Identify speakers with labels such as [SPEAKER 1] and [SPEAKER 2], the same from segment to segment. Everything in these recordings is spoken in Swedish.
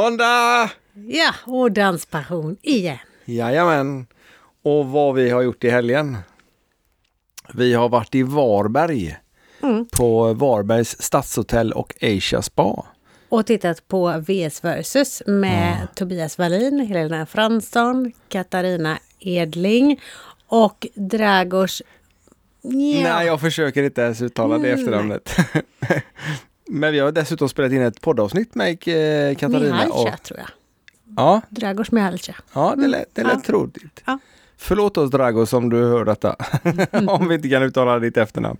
[SPEAKER 1] Måndag!
[SPEAKER 2] Ja, och danspassion igen.
[SPEAKER 1] Jajamän. Och vad vi har gjort i helgen? Vi har varit i Varberg. På Varbergs stadshotell och Asia Spa.
[SPEAKER 2] Och tittat på VS Versus med Tobias Wallin, Helena Fransson, Katarina Edling och Dragos... Ja.
[SPEAKER 1] Nej, jag försöker inte ens uttala det
[SPEAKER 2] Mm,
[SPEAKER 1] efternamnet. Men vi har dessutom spelat in ett poddavsnitt med eh, Katarina. Och,
[SPEAKER 2] Mihalca, tror jag.
[SPEAKER 1] ja,
[SPEAKER 2] Dragos Mihalca.
[SPEAKER 1] ja, det lät, det lät
[SPEAKER 2] Ja.
[SPEAKER 1] troligt.
[SPEAKER 2] Ja.
[SPEAKER 1] Förlåt oss Dragos om du hör detta, om vi inte kan uttala ditt efternamn.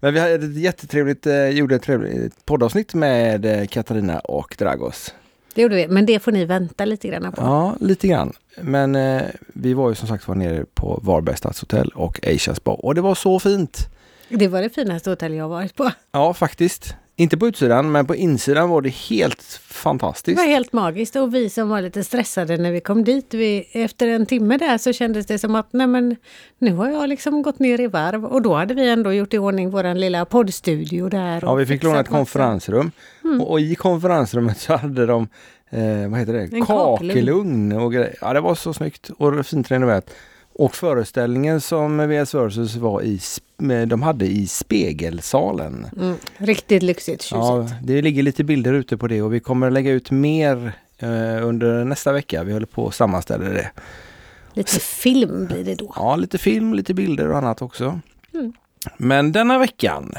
[SPEAKER 1] Men vi hade ett jättetrevligt, eh, gjorde ett trevligt poddavsnitt med eh, Katarina och Dragos.
[SPEAKER 2] Det gjorde vi, men det får ni vänta lite grann på.
[SPEAKER 1] Ja, lite grann. Men eh, vi var ju som sagt var nere på Varberg stadshotell och Asia Spa och det var så fint.
[SPEAKER 2] Det var det finaste hotell jag varit på.
[SPEAKER 1] Ja, faktiskt. Inte på utsidan, men på insidan var det helt
[SPEAKER 2] Det
[SPEAKER 1] fantastiskt.
[SPEAKER 2] var helt magiskt och vi som var lite stressade när vi kom dit, vi, efter en timme där så kändes det som att nej men, nu har jag liksom gått ner i varv och då hade vi ändå gjort i ordning vår lilla poddstudio där. och
[SPEAKER 1] Ja, vi fick låna ett
[SPEAKER 2] fixat massa-
[SPEAKER 1] konferensrum
[SPEAKER 2] Mm.
[SPEAKER 1] och, och i konferensrummet så hade de, eh, vad heter det,
[SPEAKER 2] En kakelugn.
[SPEAKER 1] kakelugn och grejer. Ja, det var så snyggt och fint renoverat. Och föreställningen som VS Versus var i, sp- de hade i spegelsalen.
[SPEAKER 2] Mm, riktigt lyxigt, tjusigt.
[SPEAKER 1] Ja, det ligger lite bilder ute på det och vi kommer lägga ut mer eh, under nästa vecka. Vi håller på att sammanställa det.
[SPEAKER 2] Lite film blir det då.
[SPEAKER 1] Ja, lite film, lite bilder och annat också.
[SPEAKER 2] Mm.
[SPEAKER 1] Men denna veckan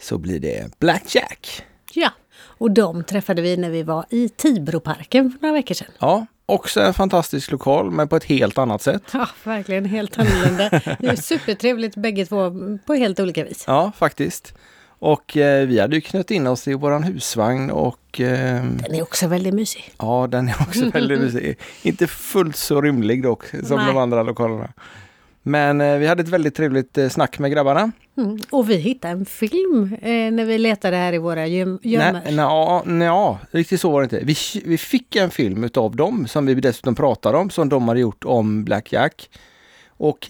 [SPEAKER 1] så blir det Blackjack.
[SPEAKER 2] Ja, och de träffade vi när vi var i Tibroparken för några veckor sedan.
[SPEAKER 1] Ja, också en fantastisk lokal men på ett helt annat sätt.
[SPEAKER 2] Ja, verkligen helt annorlunda. Det är supertrevligt bägge två på helt olika vis.
[SPEAKER 1] Ja, faktiskt. Och eh, vi hade ju knutit in oss i våran husvagn och ehm,
[SPEAKER 2] Den är också väldigt mysig.
[SPEAKER 1] ja, den är också väldigt mysig. Inte fullt så rymlig dock som
[SPEAKER 2] Nej.
[SPEAKER 1] de andra lokalerna. Men eh, vi hade ett väldigt trevligt eh, snack med grabbarna.
[SPEAKER 2] Mm. Och vi hittade en film eh, när vi letade här i våra göm- gömmor.
[SPEAKER 1] Nej, nej, nej, riktigt så var det inte. Vi, vi fick en film utav dem som vi dessutom pratade om, som de hade gjort om Black Jack. Och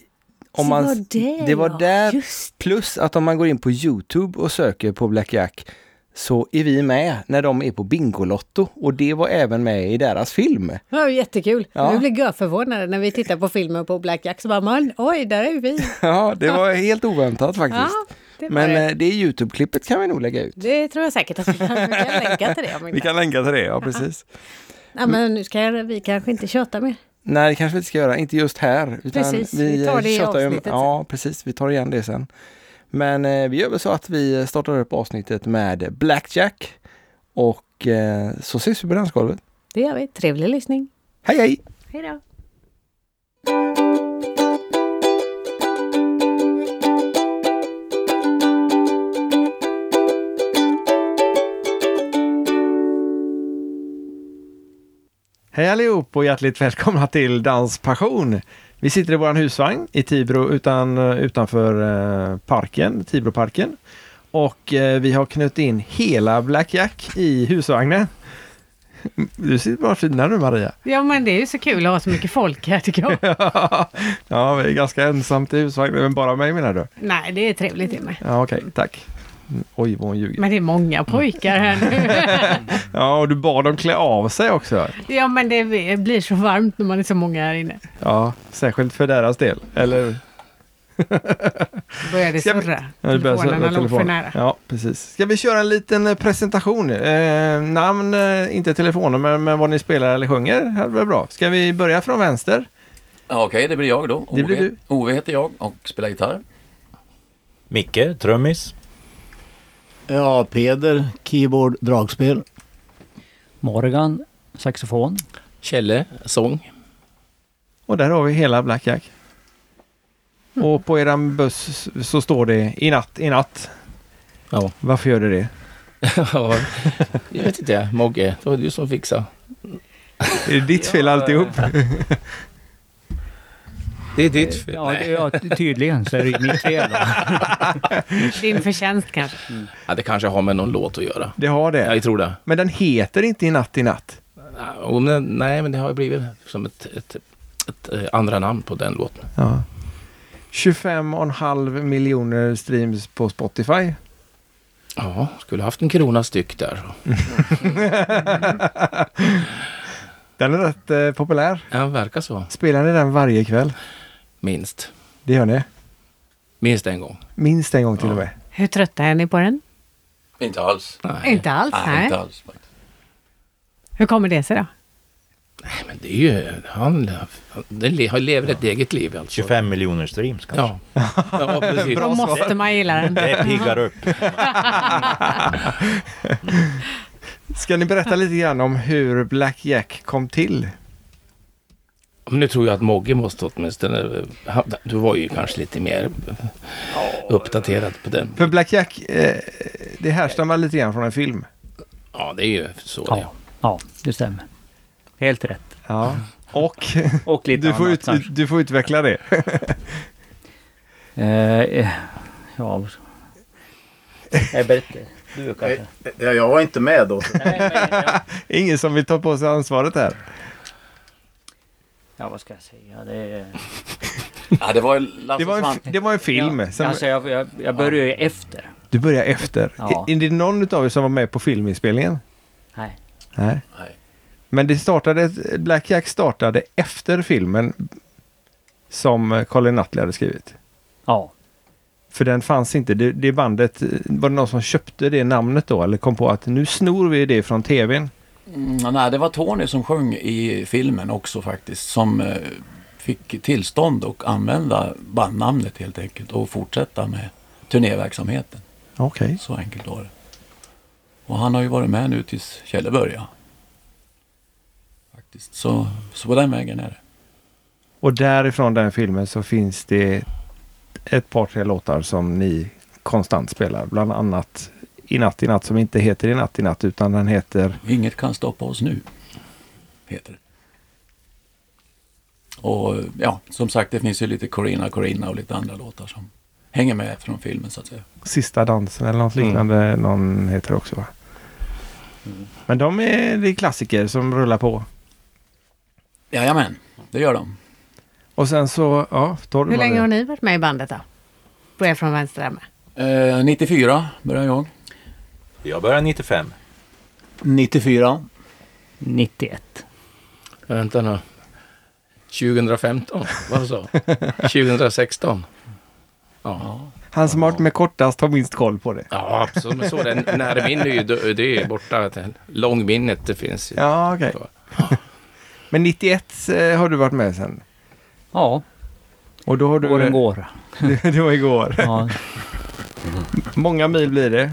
[SPEAKER 1] om
[SPEAKER 2] Så
[SPEAKER 1] man,
[SPEAKER 2] var det,
[SPEAKER 1] det var
[SPEAKER 2] ja.
[SPEAKER 1] där,
[SPEAKER 2] Just.
[SPEAKER 1] plus att om man går in på Youtube och söker på Black Jack så är vi med när de är på Bingolotto och det var även med i deras film.
[SPEAKER 2] Det var jättekul.
[SPEAKER 1] Ja.
[SPEAKER 2] Vi blev görförvånade när vi tittar på filmen på Black Jack. Så bara, man, oj, där är vi.
[SPEAKER 1] Ja, det var helt oväntat
[SPEAKER 2] Ja,
[SPEAKER 1] faktiskt.
[SPEAKER 2] det, var
[SPEAKER 1] Men
[SPEAKER 2] det.
[SPEAKER 1] eh, det Youtube-klippet kan vi nog lägga ut.
[SPEAKER 2] det tror jag säkert att vi kan, vi kan länka till det. Om vi kan.
[SPEAKER 1] länka till det, ja precis.
[SPEAKER 2] Ja, men nu ska jag, vi kanske inte tjöta mer.
[SPEAKER 1] Nej, det kanske vi inte ska göra. Inte just här. Utan eh,
[SPEAKER 2] Precis, vi tar det i
[SPEAKER 1] tjatar ju om-
[SPEAKER 2] avsnittet sen.
[SPEAKER 1] Ja, precis. Vi tar igen det sen. Men eh, vi gör väl så att vi startar upp avsnittet med Blackjack. Och eh, så ses vi på dansgolvet.
[SPEAKER 2] Det gör vi. Trevlig lyssning.
[SPEAKER 1] Hej hej!
[SPEAKER 2] Hej då.
[SPEAKER 1] Hej allihop och hjärtligt välkomna till Danspassion. Vi sitter i vår husvagn i Tibro utan, utanför eh, parken, Tibroparken. Och eh, vi har knutit in hela Blackjack i husvagnen. Du sitter bara finare nu Maria.
[SPEAKER 2] Ja, men det är ju så kul att ha så mycket folk här tycker jag.
[SPEAKER 1] ja, vi är ganska ensamt i husvagnen, men bara mig menar du?
[SPEAKER 2] Nej, det är trevligt det med.
[SPEAKER 1] Ja, okej, tack. Mm, Oj, vad hon ljuger.
[SPEAKER 2] Men det är många pojkar här
[SPEAKER 1] Ja, och du bad dem klä av sig också.
[SPEAKER 2] nu. Ja, men det blir så varmt när man är så många här inne.
[SPEAKER 1] Ja, särskilt för deras del, eller?
[SPEAKER 2] Börjar det
[SPEAKER 1] Ska vi-
[SPEAKER 2] surra.
[SPEAKER 1] Ja, det börjar surra
[SPEAKER 2] Telefonerna låg för
[SPEAKER 1] telefonen.
[SPEAKER 2] nära.
[SPEAKER 1] Ja, precis. Ska vi köra en liten eh, presentation? Eh, namn, eh, inte telefonnummer, men vad ni spelar eller sjunger. Det här blir bra. Ska vi börja från vänster?
[SPEAKER 3] Ja, Okej, det blir jag då.
[SPEAKER 1] Det blir
[SPEAKER 3] Ove-
[SPEAKER 1] du.
[SPEAKER 3] Ove heter jag och spelar gitarr.
[SPEAKER 4] Micke, trummis.
[SPEAKER 5] Ja, Peder, keyboard, dragspel.
[SPEAKER 6] Morgan, saxofon.
[SPEAKER 7] Kjelle, sång.
[SPEAKER 1] Och där har vi hela Blackjack. Och på eran buss så står det i natt, i natt.
[SPEAKER 7] Ja.
[SPEAKER 1] Varför gör det det?
[SPEAKER 7] Ja, jag vet inte, Mogge, det var du som fixade.
[SPEAKER 1] Är det ditt fel alltihop?
[SPEAKER 7] Det är ditt fel.
[SPEAKER 6] Ja, det,
[SPEAKER 7] Nej.
[SPEAKER 6] ja, tydligen så är det ju mitt fel. då.
[SPEAKER 2] Din förtjänst kanske.
[SPEAKER 7] Ja, det kanske har med någon låt att göra.
[SPEAKER 1] Det har
[SPEAKER 7] Ja,
[SPEAKER 1] det.
[SPEAKER 7] jag tror det.
[SPEAKER 1] Men den heter inte i natt, i natt.
[SPEAKER 7] Ja, och men- Nej, men det har ju blivit som ett, ett, ett, eh, andra namn på den låten.
[SPEAKER 1] Ja. 25,5 miljoner streams på Spotify.
[SPEAKER 7] Ja, skulle haft en krona styck där.
[SPEAKER 1] Den är rätt eh, populär.
[SPEAKER 7] Ja, verkar så.
[SPEAKER 1] Spelar ni den varje kväll?
[SPEAKER 7] Minst.
[SPEAKER 1] Det gör ni?
[SPEAKER 7] Minst en gång.
[SPEAKER 1] Minst en gång till och med.
[SPEAKER 2] Hur trötta är ni på den?
[SPEAKER 3] Inte alls.
[SPEAKER 2] Inte alls?
[SPEAKER 3] Nej,
[SPEAKER 2] nej.
[SPEAKER 3] inte alls. faktiskt.
[SPEAKER 2] Hur kommer det sig då?
[SPEAKER 7] Nej, men det är ju... Han, han den le- han lever ett eget liv alltså.
[SPEAKER 4] 25 miljoner streams kanske.
[SPEAKER 7] Ja. ja, precis.
[SPEAKER 2] Då måste man gilla den.
[SPEAKER 4] Det piggar upp.
[SPEAKER 1] Ska ni berätta lite grann om hur Black Jack kom till?
[SPEAKER 7] Men Nu tror jag att Mogge måste åtminstone... han- Du var ju kanske lite mer uppdaterad på den.
[SPEAKER 1] För Black Jack, eh, det härstammar lite grann från en film.
[SPEAKER 7] Ja, det är ju så det är.
[SPEAKER 6] Ja, ja det stämmer. Helt rätt.
[SPEAKER 1] Ja. Och
[SPEAKER 6] Och lite
[SPEAKER 1] du får,
[SPEAKER 6] annat
[SPEAKER 1] ut,
[SPEAKER 6] kanske.
[SPEAKER 1] du får utveckla det.
[SPEAKER 6] Eh, eh, ja. Nej, berätta. Du
[SPEAKER 1] Eh.
[SPEAKER 6] kanske.
[SPEAKER 5] Ja, jag var inte med då.
[SPEAKER 1] Ingen som vill ta på sig ansvaret
[SPEAKER 6] Alltså,
[SPEAKER 1] här.
[SPEAKER 6] Ja, vad ska jag säga? Det är...
[SPEAKER 3] Ja, det var Lasse
[SPEAKER 1] Det var en,
[SPEAKER 3] Svante.
[SPEAKER 1] det var en film.
[SPEAKER 6] Ja,
[SPEAKER 1] Sen,
[SPEAKER 6] alltså, jag, jag, jag börjar ju efter.
[SPEAKER 1] du börjar efter.
[SPEAKER 6] Ja.
[SPEAKER 1] Är, är det någon av er som var med på filminspelningen?
[SPEAKER 6] Nej.
[SPEAKER 1] Nej.
[SPEAKER 3] Nej.
[SPEAKER 1] Men det startade, Black Jack startade efter filmen som eh, Colin Nutley hade skrivit.
[SPEAKER 6] Ja.
[SPEAKER 1] För den fanns inte. Det, det bandet, eh, var det någon som köpte det namnet då eller kom på att nu snor vi det från tvn?
[SPEAKER 3] Mm, nej, det var Tony som sjöng i filmen också faktiskt. Som eh, fick tillstånd att använda bandnamnet helt enkelt och fortsätta med turnéverksamheten.
[SPEAKER 1] Okej.
[SPEAKER 3] Så enkelt var det. Och han har ju varit med nu tills Kjelle började. Faktiskt. Så, så på den vägen är det.
[SPEAKER 1] Och därifrån den filmen så finns det ett par tre låtar som ni konstant spelar. Bland annat I natt i natt som inte heter I natt i natt utan den heter
[SPEAKER 3] Inget kan stoppa oss nu, heter det. Och ja, som sagt, det finns ju lite Corina Corina och lite andra låtar som hänger med från filmen så att säga.
[SPEAKER 1] Sista dansen eller något liknande. Någon heter också va? Men de är, det är klassiker som rullar på.
[SPEAKER 3] Jajamän, det gör de.
[SPEAKER 1] Och sen så, ja, tar du
[SPEAKER 2] Hur
[SPEAKER 1] bara
[SPEAKER 2] länge
[SPEAKER 1] det.
[SPEAKER 2] har ni varit med i bandet då? Börja från vänster där med.
[SPEAKER 3] Eh, 94 började jag.
[SPEAKER 4] Jag börjar 95.
[SPEAKER 5] 94.
[SPEAKER 6] 91.
[SPEAKER 7] Vänta nu. 2015, vad så? 2016. Ja,
[SPEAKER 1] Han som har varit med kortast har minst koll på det.
[SPEAKER 7] ja absolut. Men så den närminne är ju dö- det är borta. det- Långminnet, det finns ju.
[SPEAKER 1] Ja, okej. Men 91 eh, har du varit med sen.
[SPEAKER 6] Ja,
[SPEAKER 1] Och då har du...
[SPEAKER 6] åren går.
[SPEAKER 1] det var igår.
[SPEAKER 6] Ja,
[SPEAKER 1] Många mil blir det.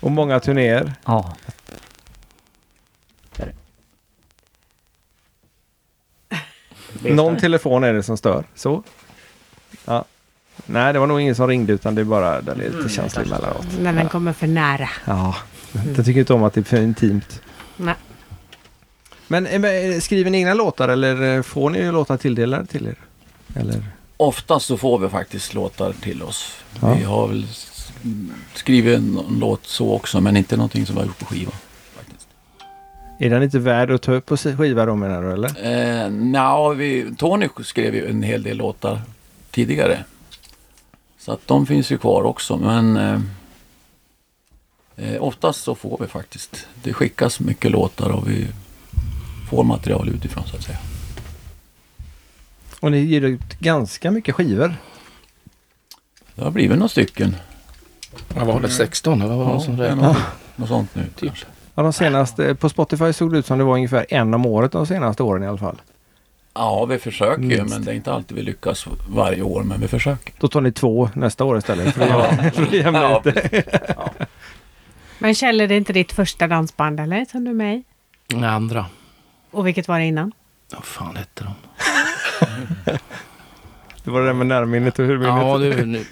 [SPEAKER 1] Och många turnéer.
[SPEAKER 6] ja.
[SPEAKER 1] Någon telefon är det som stör. Så. Ja. Nej, det var nog ingen som ringde utan det är bara där det är lite känsligt emellanåt.
[SPEAKER 2] När den kommer för nära.
[SPEAKER 1] Ja, jag tycker inte om att det är för intimt.
[SPEAKER 2] Nej.
[SPEAKER 1] Men eh, men, eh, skriver ni egna låtar eller eh, får ni låtar tilldelade till er? Eller?
[SPEAKER 3] Oftast så får vi faktiskt låtar till oss.
[SPEAKER 1] Ja.
[SPEAKER 3] Vi har väl s- mm, skrivit en en låt så också, men inte någonting som vi har gjort på skiva. Faktiskt.
[SPEAKER 1] Är den inte värd att ta upp på si- skiva då menar du eller?
[SPEAKER 3] Eh, nja, vi, Tony skrev ju en hel del låtar tidigare. Så att de finns ju kvar också, men eh, eh, oftast så får vi faktiskt. Det skickas mycket låtar och vi får material utifrån så att säga.
[SPEAKER 1] Och ni ger ut ganska mycket skivor.
[SPEAKER 3] Det har blivit några stycken.
[SPEAKER 7] Vad var det, 16? Vad var det som
[SPEAKER 3] det är
[SPEAKER 7] räknade?
[SPEAKER 3] något, något sånt nu.
[SPEAKER 7] Typ.
[SPEAKER 3] kanske.
[SPEAKER 1] Ja, de senaste, på Spotify såg det ut som det var ungefär en om året de senaste åren i alla fall.
[SPEAKER 3] Ja, vi försöker ju,
[SPEAKER 1] Minst.
[SPEAKER 3] men det är inte alltid vi lyckas varje år, men vi försöker.
[SPEAKER 1] Då tar ni två nästa år istället. För att, för att jämna ut det.
[SPEAKER 2] Men Kjell, är det inte ditt första dansband eller? Som du är med i?
[SPEAKER 7] Den andra.
[SPEAKER 2] Och vilket var det innan?
[SPEAKER 7] Vad fan hette de?
[SPEAKER 1] Det var det där med närminnet och hurminnet.
[SPEAKER 7] Ja, du, nu.
[SPEAKER 2] Men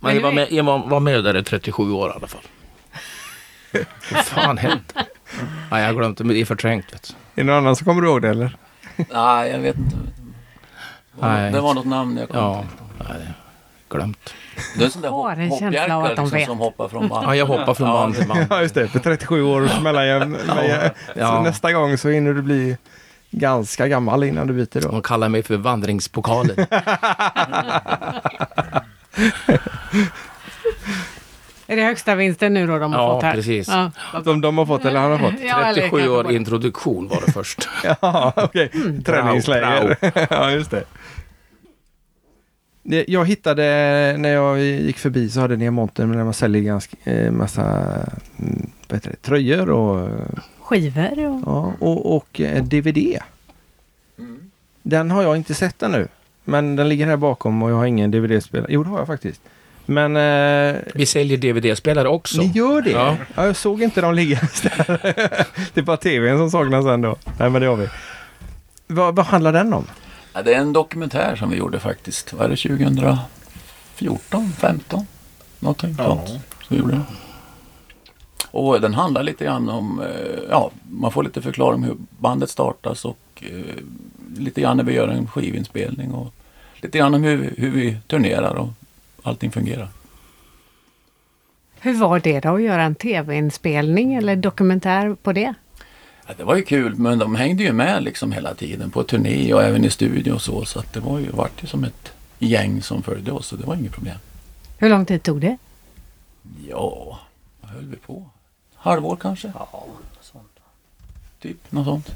[SPEAKER 7] Men jag var
[SPEAKER 2] nu-
[SPEAKER 7] med, jag var, var med där i 37 år i alla fall. Vad fan hände? Nej, jag har glömt det, men det är förträngt. Vet du.
[SPEAKER 1] Är det någon annan som kommer ihåg det eller?
[SPEAKER 3] Nej, jag vet inte. Det var-
[SPEAKER 7] Nej.
[SPEAKER 3] Det var något namn jag kom
[SPEAKER 7] Ja,
[SPEAKER 3] till.
[SPEAKER 7] nej, glömt.
[SPEAKER 3] Det är sån där
[SPEAKER 2] Jag har en
[SPEAKER 3] hopp-
[SPEAKER 2] känsla av
[SPEAKER 3] hoppjärkar
[SPEAKER 2] att de
[SPEAKER 3] liksom
[SPEAKER 2] vet.
[SPEAKER 3] som hoppar från band.
[SPEAKER 7] Ja, jag hoppar från band till band.
[SPEAKER 1] Ja just det, för 37 år mellanjämn. Ja.
[SPEAKER 7] Ja.
[SPEAKER 1] Nästa gång så hinner du bli ganska gammal innan du byter då.
[SPEAKER 7] De kallar mig för vandringspokalen.
[SPEAKER 2] Är Är det högsta vinsten nu då de har
[SPEAKER 7] Ja,
[SPEAKER 2] fått här?
[SPEAKER 7] precis.
[SPEAKER 2] Ja, vad bra.
[SPEAKER 1] Som de har fått eller han har fått?
[SPEAKER 2] Ja, eller
[SPEAKER 7] 37
[SPEAKER 2] kanske
[SPEAKER 7] år
[SPEAKER 2] bara-
[SPEAKER 7] introduktion var det först.
[SPEAKER 1] Ja, okej. Träningsläger. ja, just det. Det- Jag hittade, när jag gick förbi så hade ni en monter där man säljer ganska eh, massa mm, vad heter det, tröjor och,
[SPEAKER 2] Skivor och...
[SPEAKER 1] ja, och, och eh, DVD. Den har jag inte sett ännu. Men den ligger här bakom och jag har ingen DVD-spelare. Jo, det har jag faktiskt. Men eh,
[SPEAKER 7] Vi säljer DVD-spelare också.
[SPEAKER 1] ni gör det? Ja.
[SPEAKER 7] Ja.
[SPEAKER 1] jag såg inte dem liggandes där. det är bara tvn som saknas ändå. Nej, men det har vi. Vad, vad handlar den om?
[SPEAKER 3] Ja, det är en dokumentär som vi gjorde faktiskt. Var det 2014, 15? Någonting sånt. Så vi gjorde den. Och den handlar lite grann om, eh, ja, man får lite förklaring om hur bandet startas och eh, lite grann när vi gör en skivinspelning och lite grann om hur, hur vi turnerar och allting fungerar.
[SPEAKER 2] Hur var det då att göra en tv-inspelning eller dokumentär på det?
[SPEAKER 3] Ja, det var ju kul, men de hängde ju med liksom hela tiden på turné och även i studio och så. Så att det var ju, vart ju som ett gäng som följde oss så det var inget problem.
[SPEAKER 2] Hur lång tid tog det?
[SPEAKER 3] Ja, vad höll vi på? Halvår kanske?
[SPEAKER 6] Ja, sånt.
[SPEAKER 3] Typ något sånt.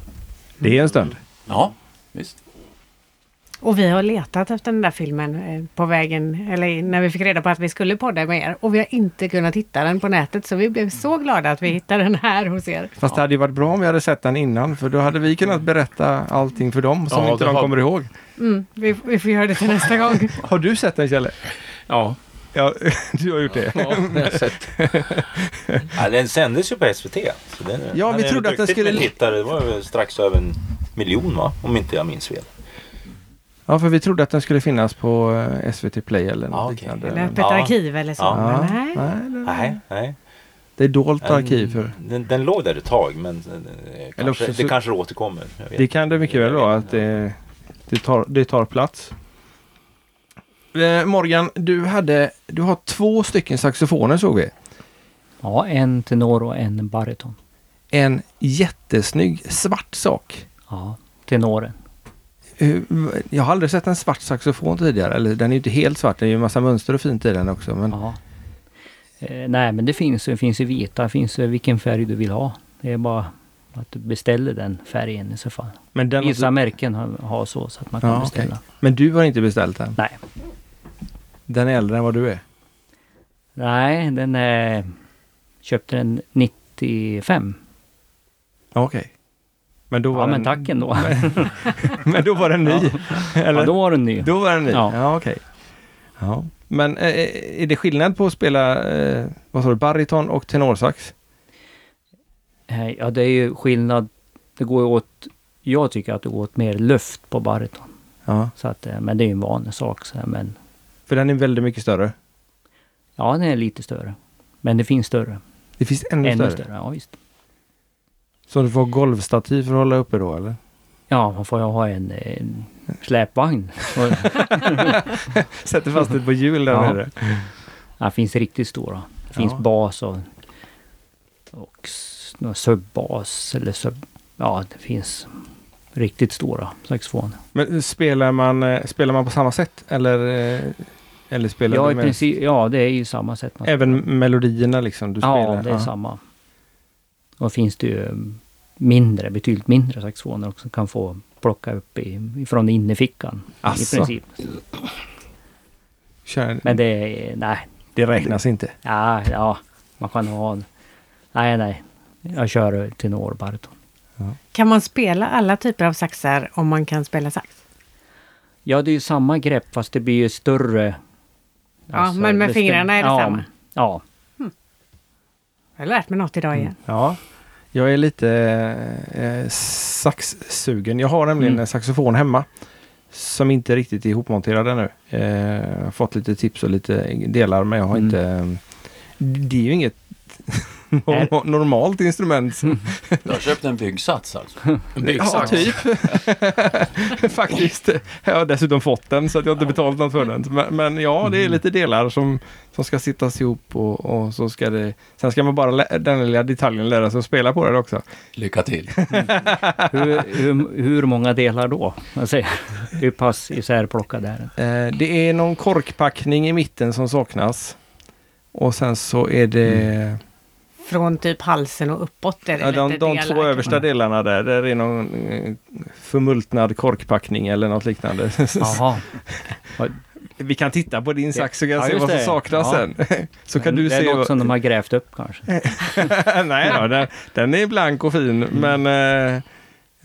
[SPEAKER 1] Det är en stund.
[SPEAKER 3] Ja, visst.
[SPEAKER 2] Och vi har letat efter den där filmen eh, på vägen, eller när vi fick reda på att vi skulle podda med er. Och vi har inte kunnat hitta den på nätet, så vi blev så glada att vi hittade den här hos er.
[SPEAKER 1] Fast det hade ju varit bra om vi hade sett den innan, för då hade vi kunnat berätta allting för dem som
[SPEAKER 7] Ja,
[SPEAKER 1] inte
[SPEAKER 7] det
[SPEAKER 1] de
[SPEAKER 7] har-
[SPEAKER 1] kommer ihåg.
[SPEAKER 2] Mm, vi, vi får göra det till nästa gång.
[SPEAKER 1] Har du sett den Kjelle?
[SPEAKER 7] Ja,
[SPEAKER 1] Ja, du har gjort det.
[SPEAKER 7] ja det har jag sett.
[SPEAKER 4] Ja, den sändes ju på SVT. Så den,
[SPEAKER 1] Ja, vi
[SPEAKER 4] den är
[SPEAKER 1] trodde att den
[SPEAKER 4] duktigt
[SPEAKER 1] skulle-
[SPEAKER 4] med tittare. Det var väl strax över en miljon va? Om inte jag minns fel.
[SPEAKER 1] Ja, för vi trodde att den skulle finnas på eh, SVT Play eller något
[SPEAKER 4] Ja, okej.
[SPEAKER 1] liknande.
[SPEAKER 2] Eller öppet
[SPEAKER 4] Ja.
[SPEAKER 2] arkiv eller så.
[SPEAKER 4] Ja.
[SPEAKER 2] Men nej.
[SPEAKER 1] Nej, det-
[SPEAKER 4] Nej, nej.
[SPEAKER 1] det är dolt
[SPEAKER 4] Den-
[SPEAKER 1] arkiv för...
[SPEAKER 4] Den, den låg där ett tag men eh,
[SPEAKER 1] Eller
[SPEAKER 4] kanske,
[SPEAKER 1] också så-
[SPEAKER 4] det kanske återkommer. Jag vet
[SPEAKER 1] Det kan det mycket väl vara att det, det, tar, det tar plats. Eh, Morgan, du, hade, du har två stycken saxofoner såg vi.
[SPEAKER 6] Ja, en tenor och en bariton.
[SPEAKER 1] En jättesnygg svart sak.
[SPEAKER 6] Ja, tenoren.
[SPEAKER 1] Hur- v- Jag har aldrig sett en svart saxofon tidigare. Eller den är ju inte helt svart, det är ju en massa mönster och fint i den också. Men
[SPEAKER 6] Ja. Eh, nej, men det finns ju. Det finns ju vita. Det finns ju vilken färg du vill ha. Det är bara att du beställer den färgen i så fall.
[SPEAKER 1] Men, den
[SPEAKER 6] Vissa märken har, har så, så att man kan
[SPEAKER 1] ja,
[SPEAKER 6] beställa.
[SPEAKER 1] okej. men du har inte beställt den?
[SPEAKER 6] Nej.
[SPEAKER 1] Den är äldre än vad du är?
[SPEAKER 6] Nej, den är... Köpte den 95.
[SPEAKER 1] Ja, Okej. Men då var
[SPEAKER 6] Ja,
[SPEAKER 1] den,
[SPEAKER 6] men tack ändå.
[SPEAKER 1] men då var den ny? Eller?
[SPEAKER 6] Ja, då var den ny.
[SPEAKER 1] Då var den ny? Ja,
[SPEAKER 6] Ja.
[SPEAKER 1] okej. Ja. Men eh, eh, är det skillnad på att spela, eh, vad sa du, bariton och tenorsax?
[SPEAKER 6] Eh, Ja, det är ju skillnad. Det går ju åt... Jag tycker att det går åt mer luft på bariton.
[SPEAKER 1] Ja,
[SPEAKER 6] Så att, eh, men det är ju en vanlig sak. Så här, men
[SPEAKER 1] för den är väldigt mycket större.
[SPEAKER 6] ja, den är lite större. Men det finns större.
[SPEAKER 1] Det finns ännu,
[SPEAKER 6] Ännu
[SPEAKER 1] större.
[SPEAKER 6] större, ja visst.
[SPEAKER 1] Så du får golvstativ för att hålla uppe då, eller?
[SPEAKER 6] Ja, man får ju ha en, en släpvagn. Och-
[SPEAKER 1] Sätter fast det på hjul där
[SPEAKER 6] Ja.
[SPEAKER 1] nere.
[SPEAKER 6] ja, det finns riktigt stora. Det finns
[SPEAKER 1] Ja.
[SPEAKER 6] bas och, och s- någon subbas eller sub... Ja, det finns riktigt stora saxofoner.
[SPEAKER 1] Men spelar man, eh, spelar man på samma sätt, eller, eh, eller spelar
[SPEAKER 6] Ja,
[SPEAKER 1] du
[SPEAKER 6] i
[SPEAKER 1] med-
[SPEAKER 6] princip, ja, det är ju samma sätt. Man
[SPEAKER 1] Även melodierna liksom? Du spelar?
[SPEAKER 6] Ja, det är samma. Och finns det ju mindre, betydligt mindre saxofoner också. Kan få plocka upp i, från innefickan.
[SPEAKER 1] Asså.
[SPEAKER 6] I princip.
[SPEAKER 1] Kör,
[SPEAKER 6] Men det är, nej,
[SPEAKER 1] det räknas inte.
[SPEAKER 6] ja, ja, man kan ha en, nej, nej. Jag kör tenor, bariton.
[SPEAKER 2] Kan man spela alla typer av saxar om man kan spela sax?
[SPEAKER 6] Ja, det är ju samma grepp fast det blir ju större. Alltså,
[SPEAKER 2] Ja, men med
[SPEAKER 6] det
[SPEAKER 2] fingrarna är det
[SPEAKER 6] ja,
[SPEAKER 2] samma.
[SPEAKER 6] Ja,
[SPEAKER 2] Jag har lärt mig något idag igen.
[SPEAKER 1] Ja, jag är lite eh, saxsugen. Jag har nämligen
[SPEAKER 6] Mm.
[SPEAKER 1] en saxofon hemma som inte riktigt är ihopmonterad ännu. Eh, jag har fått lite tips och lite delar men jag har
[SPEAKER 6] Mm.
[SPEAKER 1] inte... eh, Det är ju inget
[SPEAKER 6] Nej.
[SPEAKER 1] normalt instrument.
[SPEAKER 3] Du har köpt en byggsats alltså?
[SPEAKER 1] Ja,
[SPEAKER 7] Byggsax.
[SPEAKER 1] typ. Faktiskt. Jag har dessutom fått den så att jag har inte betalat något för den. Men, men ja,
[SPEAKER 6] Mm.
[SPEAKER 1] det är lite delar som, som ska sittas ihop och, och så ska det... Sen ska man bara lä- den lilla detaljen lära sig att spela på den också.
[SPEAKER 3] Lycka till!
[SPEAKER 6] hur, hur, hur många delar då? Man säger, hur pass isärplockad är den?
[SPEAKER 1] Eh, det är någon korkpackning i mitten som saknas. Och sen så är det...
[SPEAKER 6] Mm.
[SPEAKER 2] Från typ halsen och uppåt är det
[SPEAKER 1] Ja, de
[SPEAKER 2] lite
[SPEAKER 1] de
[SPEAKER 2] delar.
[SPEAKER 1] två översta delarna där, där är någon eh, förmultnad korkpackning eller något liknande.
[SPEAKER 6] Jaha.
[SPEAKER 1] Vi kan titta på din sax så kan jag
[SPEAKER 6] Ja,
[SPEAKER 1] se
[SPEAKER 6] just
[SPEAKER 1] vad som
[SPEAKER 6] det.
[SPEAKER 1] saknas
[SPEAKER 6] Ja.
[SPEAKER 1] sen. Så kan
[SPEAKER 6] Men
[SPEAKER 1] du
[SPEAKER 6] det är
[SPEAKER 1] se...
[SPEAKER 6] något
[SPEAKER 1] vad- Eh,
[SPEAKER 6] som de har grävt upp kanske.
[SPEAKER 1] Nej då, den, den är blank och fin,
[SPEAKER 6] Mm.
[SPEAKER 1] men... Eh,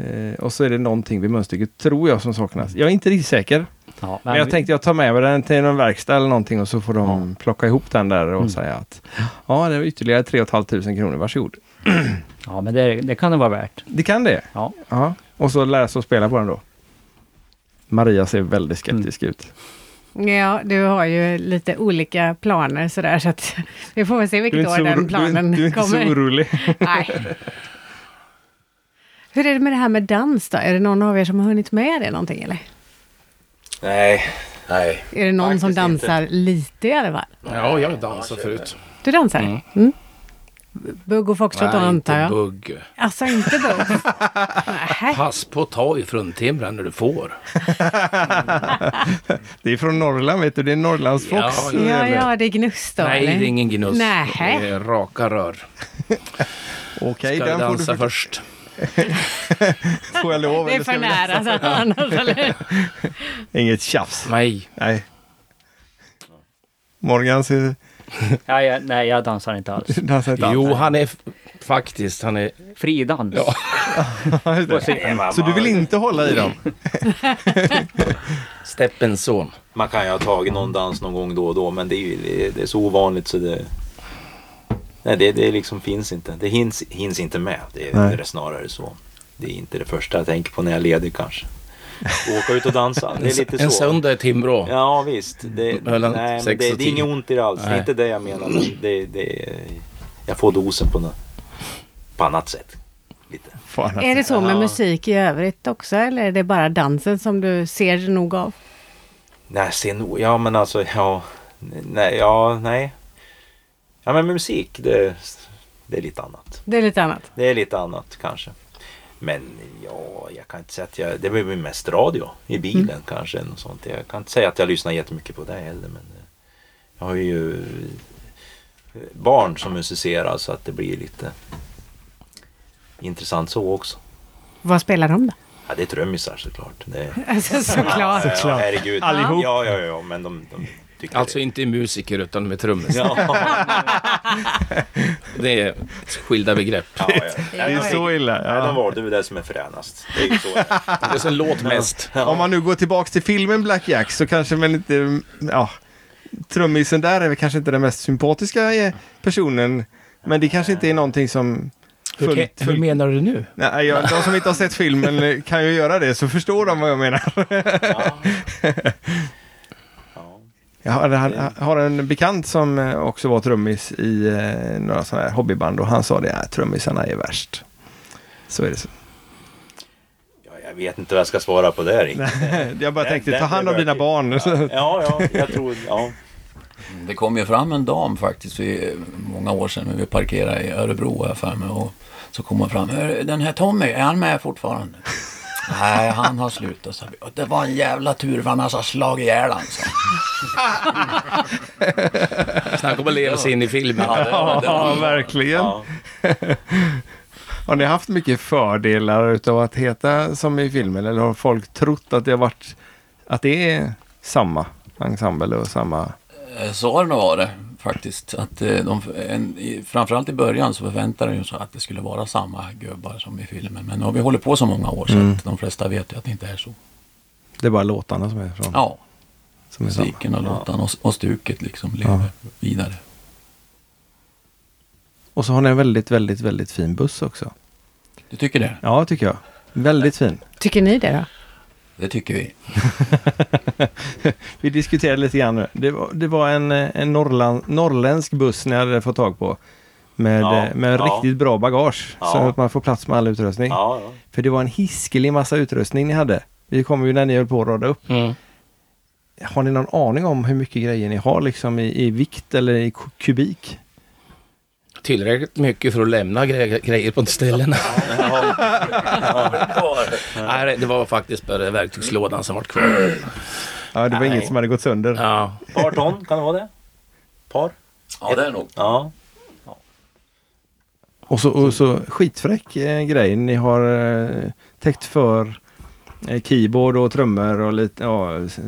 [SPEAKER 1] eh, och så är det någonting vid munstycket, tror jag, som saknas. Jag är inte riktigt säker.
[SPEAKER 6] Ja,
[SPEAKER 1] Men jag tänkte jag tar med mig den till någon verkstad eller någonting och så får de plocka ihop den där och säga att ja, det var ytterligare 3 500 kronor, varsågod.
[SPEAKER 6] ja, men det, det kan det vara värt.
[SPEAKER 1] Det kan det.
[SPEAKER 6] Ja.
[SPEAKER 1] Ja. Och så lära sig att spela på den då. Maria ser väldigt skeptisk ut.
[SPEAKER 2] Ja, du har ju lite olika planer sådär så att vi får väl se vilket år den
[SPEAKER 1] oro- du, är,
[SPEAKER 2] planen
[SPEAKER 1] du är inte så
[SPEAKER 2] kommer.
[SPEAKER 1] orolig.
[SPEAKER 2] Nej. Hur är det med det här med dans då? Är det någon av er som har hunnit med det någonting eller?
[SPEAKER 4] Nej, nej.
[SPEAKER 2] Är det någon som
[SPEAKER 4] Faktiskt
[SPEAKER 2] dansar lite i alla fall?
[SPEAKER 7] Ja, jag har dansat förut.
[SPEAKER 2] Du dansar? Mm. Bugg och foxtrot då antar
[SPEAKER 7] inte
[SPEAKER 2] jag?
[SPEAKER 7] bugg.
[SPEAKER 2] Alltså inte bugg? Nej.
[SPEAKER 7] Pass på att ta i fruntimren när du får.
[SPEAKER 1] Det är från Norrland, vet du. Det är Norrlandsfox.
[SPEAKER 7] Ja, ja.
[SPEAKER 1] som
[SPEAKER 2] Ja,
[SPEAKER 1] gäller.
[SPEAKER 2] ja, det är gnuss då
[SPEAKER 7] Nej,
[SPEAKER 2] eller?
[SPEAKER 7] det är ingen gnuss.
[SPEAKER 2] Nähä.
[SPEAKER 7] Det är raka rör.
[SPEAKER 1] Okej,
[SPEAKER 7] Ska vi
[SPEAKER 1] den får,
[SPEAKER 7] dansa
[SPEAKER 1] du,
[SPEAKER 7] först?
[SPEAKER 1] får jag lov.
[SPEAKER 2] Det är
[SPEAKER 1] eller ska
[SPEAKER 2] för
[SPEAKER 1] vi-
[SPEAKER 2] nära så att annars, eller?
[SPEAKER 1] Inget tjafs.
[SPEAKER 7] Nej.
[SPEAKER 1] Nej. Morgan ser,
[SPEAKER 6] Ja, jag, nej, jag dansar inte alls.
[SPEAKER 1] dansar inte alls.
[SPEAKER 7] Jo, han är f- faktiskt, han är...
[SPEAKER 6] Fridans.
[SPEAKER 7] Ja.
[SPEAKER 1] Ja, just det.
[SPEAKER 4] Nej, man,
[SPEAKER 1] Så du vill inte hålla i dem?
[SPEAKER 7] Steppens son.
[SPEAKER 4] man kan ju ha tagit någon dans någon gång då och då men det är, ju, det är, det är så ovanligt så det... Nej, det, det liksom finns inte. Det hinns, hinns inte med. Det är,
[SPEAKER 1] Nej.
[SPEAKER 4] det är snarare så. Det är inte det första jag tänker på när jag är ledig kanske. Åka ut och dansa. Det är lite så.
[SPEAKER 7] En söndag i Timrå.
[SPEAKER 4] Ja visst. Det,
[SPEAKER 7] Mellan
[SPEAKER 4] nej, men
[SPEAKER 7] sex
[SPEAKER 4] det,
[SPEAKER 7] och
[SPEAKER 4] det är
[SPEAKER 7] tio.
[SPEAKER 4] inget ont i det alls. Det är
[SPEAKER 7] Nej.
[SPEAKER 4] inte det jag menar. Men det, det, jag får dosen på, nå- på annat sätt. Lite.
[SPEAKER 1] Fan,
[SPEAKER 7] alltså.
[SPEAKER 2] Är det så med
[SPEAKER 4] Ja.
[SPEAKER 2] musik i övrigt också eller är det bara dansen som du ser nog av?
[SPEAKER 4] Nej, se nog. Ja, men alltså, ja. Nej, ja, nej. Ja, men med musik, det, det är lite annat.
[SPEAKER 2] Det är lite annat.
[SPEAKER 4] Det är lite annat kanske. Men ja, jag kan inte säga att jag... Det blir väl mest radio i bilen kanske. Och sånt. Jag kan inte säga att jag lyssnar jättemycket på det heller. Men eh, jag har ju eh, barn som musicerar så att det blir lite intressant så också.
[SPEAKER 2] Vad spelar de då?
[SPEAKER 4] Ja, det är trummisar såklart. Det,
[SPEAKER 2] Alltså såklart.
[SPEAKER 4] Ja, ja, herregud.
[SPEAKER 1] Allihop.
[SPEAKER 4] Ja, ja, ja, men de, de tycker
[SPEAKER 7] Alltså
[SPEAKER 4] det.
[SPEAKER 7] inte i musiker utan med trummis.
[SPEAKER 4] Ja, ja,
[SPEAKER 7] Det är skilda begrepp.
[SPEAKER 4] ja.
[SPEAKER 1] Det är så illa.
[SPEAKER 4] Nej, de
[SPEAKER 1] Ja.
[SPEAKER 4] valde väl det som är fränast. Det är ju så.
[SPEAKER 7] Det är som låt mest.
[SPEAKER 1] Om man nu går tillbaks till filmen Black Jack så kanske man inte, ja, trummisen där är väl kanske inte den mest sympatiska eh, personen. Men det kanske inte är någonting som... fullt- fullt-
[SPEAKER 7] menar du nu?
[SPEAKER 1] Nej, jag, de som inte har sett filmen eh, kan ju göra det så förstår de vad jag menar.
[SPEAKER 4] Ja.
[SPEAKER 1] Jag har, han- har en bekant som eh, också var trummis i eh, några sådana här hobbyband och han sa det, att trummisarna är värst. Så är det så.
[SPEAKER 4] Ja, jag vet inte vad jag ska svara på det riktigt.
[SPEAKER 1] Eh, Jag bara
[SPEAKER 4] Den-
[SPEAKER 1] tänkte,
[SPEAKER 4] den
[SPEAKER 1] ta hand om
[SPEAKER 4] berör
[SPEAKER 1] dina
[SPEAKER 4] till.
[SPEAKER 1] barn.
[SPEAKER 4] Ja, ja, jag tror... Ja.
[SPEAKER 3] Det kom ju fram en dam faktiskt, vi, många år sedan, när vi parkerade i Örebro har jag för mig. Och så kom hon fram. "Hör, Den här Tommy, är han med fortfarande? Nej, han har slutat. sa vi. "Och Det var en jävla tur för han har slagit ihjäl han, sa han.
[SPEAKER 7] Snacka om att leva sig in i filmen.
[SPEAKER 1] Ja, verkligen.
[SPEAKER 4] Ja.
[SPEAKER 1] Har ni haft mycket fördelar utav att heta som i filmen eller har folk trott att det har varit att det är samma ensemble och samma...
[SPEAKER 3] Eh, Så har det nog varit faktiskt. Att eh, de, en, i, framförallt i början så förväntade de sig att det skulle vara samma gubbar som i filmen. Men nu har vi hållit på så många år så
[SPEAKER 1] Mm.
[SPEAKER 3] att de flesta vet ju att det inte är så.
[SPEAKER 1] Det är bara låtarna som är från...
[SPEAKER 3] Ja,
[SPEAKER 1] som är samma.
[SPEAKER 3] musiken och låtarna och, och stuket liksom lever vidare.
[SPEAKER 1] Och så har ni en väldigt, väldigt, väldigt fin buss också.
[SPEAKER 3] Du tycker det?
[SPEAKER 1] Ja, tycker jag. Väldigt fin.
[SPEAKER 2] Tycker ni det då?
[SPEAKER 3] Det tycker vi.
[SPEAKER 1] Vi diskuterade lite grann nu. Det var, det var en, eh, en norrland, norrländsk buss ni hade fått tag på. Med,
[SPEAKER 4] Ja,
[SPEAKER 1] eh, med
[SPEAKER 4] ja.
[SPEAKER 1] riktigt bra bagage. Så
[SPEAKER 4] Ja.
[SPEAKER 1] att man får plats med all utrustning.
[SPEAKER 4] Ja, ja.
[SPEAKER 1] För det var en hiskelig massa utrustning ni hade. Vi kommer ju när ni höll på att rada upp.
[SPEAKER 7] Mm.
[SPEAKER 1] Har ni någon aning om hur mycket grejer ni har liksom i, i vikt eller i ku- kubik?
[SPEAKER 7] Tillräckligt mycket för att lämna gre- grejer på ställen. Nej, det var faktiskt bara verktygslådan som var kvar.
[SPEAKER 1] Ja, det var
[SPEAKER 4] Nej.
[SPEAKER 1] inget som hade gått sönder.
[SPEAKER 7] Ja.
[SPEAKER 4] Par ton, kan det vara det? Par?
[SPEAKER 3] Ja, det är nog.
[SPEAKER 4] Ja.
[SPEAKER 1] Och så, och så skitfräck eh, grej. Ni har eh, täckt för eh, keyboard och trummor och lite, ja, s-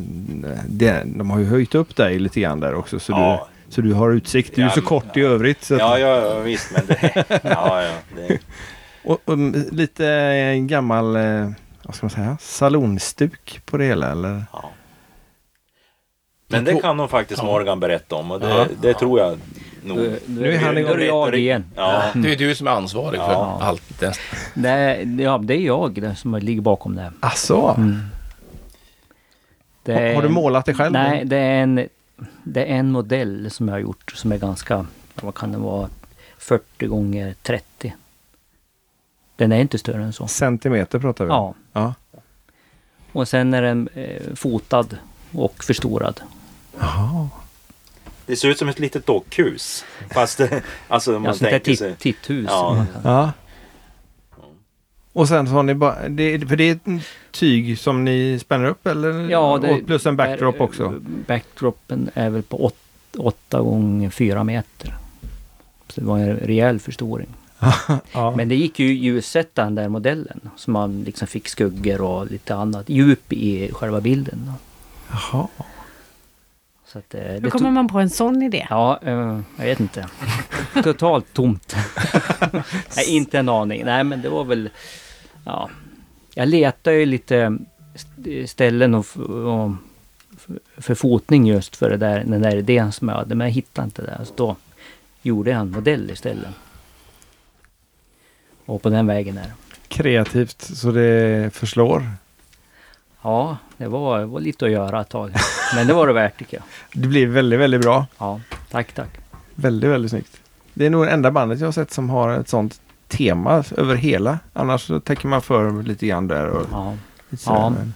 [SPEAKER 1] det, de har ju höjt upp dig lite grann där också. Så,
[SPEAKER 4] Ja.
[SPEAKER 1] du, så du har utsikt. Du är ju
[SPEAKER 4] Ja,
[SPEAKER 1] så
[SPEAKER 4] men-
[SPEAKER 1] kort i övrigt. Så att,
[SPEAKER 4] Ja, ja, ja, visst. Men det, ja, ja, det,
[SPEAKER 1] och, och mm, lite eh, gammal, eh, vad ska man säga, salonstuk på det hela eller?
[SPEAKER 4] ja. Men det kan nog faktiskt Morgan berätta om och det,
[SPEAKER 7] Ja.
[SPEAKER 4] det tror jag nog.
[SPEAKER 6] Nu- nu är
[SPEAKER 4] Det-
[SPEAKER 6] han
[SPEAKER 4] det
[SPEAKER 6] igång.
[SPEAKER 4] rätt
[SPEAKER 6] jag
[SPEAKER 4] och ri-
[SPEAKER 6] igen.
[SPEAKER 4] Ja,
[SPEAKER 7] Det är du som är ansvarig för
[SPEAKER 4] Ja.
[SPEAKER 7] allt. Det.
[SPEAKER 6] Nej, ja, det är jag det som ligger bakom det. här.
[SPEAKER 1] Asså?
[SPEAKER 6] det
[SPEAKER 1] Har-
[SPEAKER 6] är
[SPEAKER 1] Har du
[SPEAKER 6] en-
[SPEAKER 1] målat det själv?
[SPEAKER 6] Nej, det är, en, det är en modell som jag har gjort som är ganska, vad kan det vara, 40 gånger 30. Den är inte större än så.
[SPEAKER 1] Centimeter pratar vi om.
[SPEAKER 6] Ja.
[SPEAKER 1] ja.
[SPEAKER 6] Och sen är den eh, fotad och förstorad.
[SPEAKER 4] det ser ut som ett litet dockhus. Fast det, alltså, man
[SPEAKER 6] Ja, sånt där
[SPEAKER 4] tänker
[SPEAKER 6] titt,
[SPEAKER 4] sig.
[SPEAKER 6] titthus.
[SPEAKER 4] Ja.
[SPEAKER 6] som man kan-
[SPEAKER 1] Ja. Och sen så har ni bara, det, för det är ett tyg som ni spänner upp eller?
[SPEAKER 6] det-
[SPEAKER 1] och plus en backdrop
[SPEAKER 6] där, eh,
[SPEAKER 1] också.
[SPEAKER 6] Backdropen är väl på 8 gånger 4 meter. Så det var en rejäl förstoring.
[SPEAKER 1] Ja.
[SPEAKER 6] Men det gick ju att ljussätta den där modellen. Så man liksom fick skuggor och lite annat djup i själva bilden.
[SPEAKER 1] Jaha.
[SPEAKER 6] Så att, eh, det
[SPEAKER 2] Hur
[SPEAKER 6] tog-
[SPEAKER 2] kommer man på en sån idé?
[SPEAKER 6] Ja, eh, jag vet inte. Totalt tomt. Nej, inte en aning. Nej, men det var väl... Ja. Jag letade ju lite st- ställen och, f- och f- för fotning just för det där, den där idén som jag hade, men jag hittade inte det. Så då gjorde jag en modell istället. Och på den vägen är det.
[SPEAKER 1] Kreativt så det förslår.
[SPEAKER 6] Ja, det var, var lite att göra ett tag. Men det var det värt tycker jag.
[SPEAKER 1] Det blir väldigt, väldigt bra.
[SPEAKER 6] Ja, tack, tack.
[SPEAKER 1] Väldigt, väldigt snyggt. Det är nog det enda bandet jag har sett som har ett sånt tema över hela. Annars så täcker man för lite grann där. Och
[SPEAKER 6] Ja.
[SPEAKER 1] lite sådär,
[SPEAKER 6] Ja.
[SPEAKER 1] men-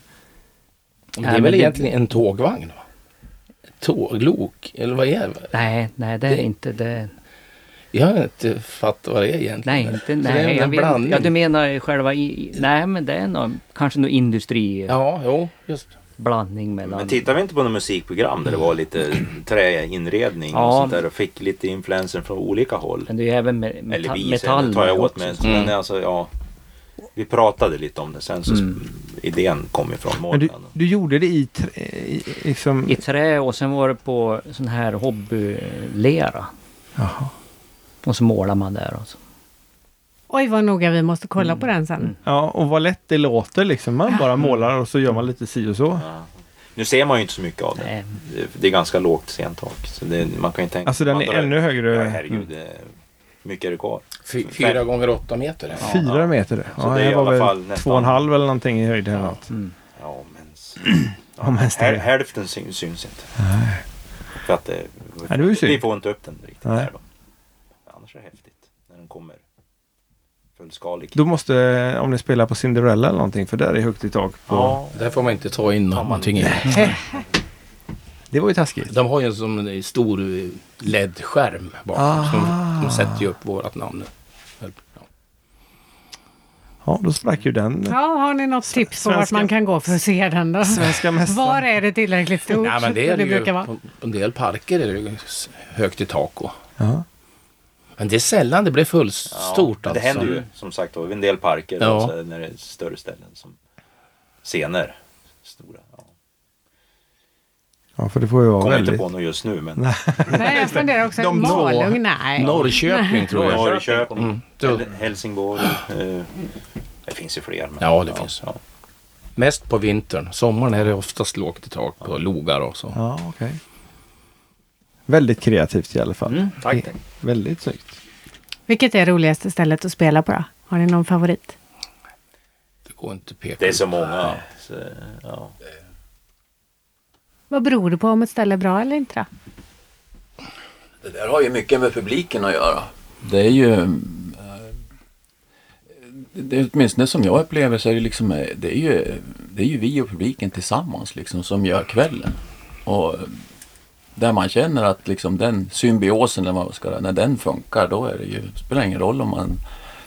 [SPEAKER 7] Men
[SPEAKER 6] Nej,
[SPEAKER 7] det är
[SPEAKER 6] men
[SPEAKER 7] väl
[SPEAKER 6] det-
[SPEAKER 7] egentligen en tågvagn? Va? Tåglok? Eller vad är det?
[SPEAKER 6] Nej, nej, det är inte det.
[SPEAKER 7] Jag har inte fattat vad det är egentligen.
[SPEAKER 6] Nej, inte,
[SPEAKER 7] Så det är
[SPEAKER 6] nej, jag
[SPEAKER 7] väl en
[SPEAKER 6] vet inte.
[SPEAKER 7] blandning.
[SPEAKER 6] Ja, du menar själva i, i- nej men det är nog, kanske någon industriblandning
[SPEAKER 7] Ja, jo, just
[SPEAKER 6] mellan.
[SPEAKER 4] Men tittar vi inte på något musikprogram där det var lite träinredning och
[SPEAKER 6] Ja.
[SPEAKER 4] sånt där och fick lite influenser från olika håll?
[SPEAKER 6] Men det är ju även me-
[SPEAKER 4] Eller
[SPEAKER 6] meta-
[SPEAKER 4] vi,
[SPEAKER 6] metall.
[SPEAKER 4] sen tar jag åt
[SPEAKER 6] också.
[SPEAKER 4] mig.
[SPEAKER 7] Mm.
[SPEAKER 4] Men alltså, ja, vi pratade lite om det sen så idén kom ifrån
[SPEAKER 1] Men du,
[SPEAKER 4] Morgan.
[SPEAKER 1] du gjorde det i, trä, i, i, liksom,
[SPEAKER 6] I trä och sen var det på sån här hobbylera.
[SPEAKER 1] Jaha.
[SPEAKER 6] Och så målar man där. Och så.
[SPEAKER 2] Oj vad noga vi måste kolla
[SPEAKER 7] Mm.
[SPEAKER 2] på den sen.
[SPEAKER 1] Ja, och vad lätt det låter liksom. Man bara målar och så gör man lite si och så.
[SPEAKER 4] Ja. Nu ser man ju inte så mycket av det.
[SPEAKER 6] Nej.
[SPEAKER 4] Det är ganska lågt scentak. Så det, man kan ju tänka
[SPEAKER 1] Alltså den
[SPEAKER 4] man
[SPEAKER 1] är
[SPEAKER 4] drar-
[SPEAKER 1] ännu högre. Mm.
[SPEAKER 4] Ja, herregud. det är- Mycket är det kvar.
[SPEAKER 7] Fy, fyra gånger åtta meter. Ja.
[SPEAKER 1] Fyra
[SPEAKER 4] ja.
[SPEAKER 1] meter? det.
[SPEAKER 4] Så
[SPEAKER 1] Ja,
[SPEAKER 4] det är
[SPEAKER 1] det
[SPEAKER 4] i
[SPEAKER 1] var
[SPEAKER 4] alla
[SPEAKER 1] väl
[SPEAKER 4] fall
[SPEAKER 1] två
[SPEAKER 4] nästan-
[SPEAKER 1] och en halv eller någonting i höjd. Eller något.
[SPEAKER 4] Ja, men, s-
[SPEAKER 1] Ja, men
[SPEAKER 4] häl,
[SPEAKER 1] det,
[SPEAKER 4] hälften syns, syns inte. För att det,
[SPEAKER 1] Ja, det var ju synd.
[SPEAKER 4] vi får inte upp den riktigt
[SPEAKER 1] Nej.
[SPEAKER 4] där då. Annars är det häftigt. När den kommer fullskalig.
[SPEAKER 1] då måste, om ni spelar på Cinderella eller någonting, för där är högt i tak. På,
[SPEAKER 4] Ja.
[SPEAKER 7] Där får man inte ta in någonting. i.
[SPEAKER 1] Det var ju taskigt.
[SPEAKER 7] De har ju en sån stor eh, LED-skärm bakom. Så de, de sätter ju upp vårat namn. nu. Ja.
[SPEAKER 1] Ja, då sprack ju den.
[SPEAKER 2] Ja, har ni något tips på vart
[SPEAKER 1] svenska-
[SPEAKER 2] man kan gå för att se den då?
[SPEAKER 1] Svenska mästaren.
[SPEAKER 2] Var är det tillräckligt stort?
[SPEAKER 7] Nej, men det är det ju.
[SPEAKER 2] brukar vara.
[SPEAKER 7] På på en del parker är det ju s- högt i tak. Och.
[SPEAKER 1] Ja.
[SPEAKER 7] Men det är sällan det blir
[SPEAKER 4] Ja,
[SPEAKER 7] fullstort
[SPEAKER 4] men
[SPEAKER 7] alltså.
[SPEAKER 4] Det händer ju som sagt då, i en del parker
[SPEAKER 7] Ja.
[SPEAKER 4] alltså, när det är större ställen som scener. Stora. Ja.
[SPEAKER 1] ja, för det får ju vara
[SPEAKER 4] Kommer
[SPEAKER 1] väldigt...
[SPEAKER 4] inte på något just nu men
[SPEAKER 2] Nej, jag funderar också.
[SPEAKER 7] De två.
[SPEAKER 2] Malung? Nej.
[SPEAKER 7] Norrköping tror jag.
[SPEAKER 4] Norrköping,
[SPEAKER 7] Mm. Då,
[SPEAKER 4] Häl- Helsingborg. Eh, det finns ju fler. Men,
[SPEAKER 7] Ja, det finns. mest på vintern. Sommaren är det oftast lågt i tak på logar och så.
[SPEAKER 1] Ja, okej. Väldigt kreativt i alla fall.
[SPEAKER 6] Mm, tack, tack.
[SPEAKER 1] Väldigt snyggt.
[SPEAKER 2] Vilket är roligaste stället att spela på då? Har ni någon favorit?
[SPEAKER 7] Det går inte att peka
[SPEAKER 4] Det är så
[SPEAKER 7] ut.
[SPEAKER 4] många. Så, ja.
[SPEAKER 2] Vad beror det på om ett ställe är bra eller inte då?
[SPEAKER 3] Det där har ju mycket med publiken att göra. Det är ju... eh, Det är åtminstone som jag upplever så är det liksom... eh, Det är ju, det är ju vi och publiken tillsammans liksom som gör kvällen. Och eh, där man känner att liksom den symbiosen, när, man ska, när den funkar, då är det ju... Det spelar ingen roll om man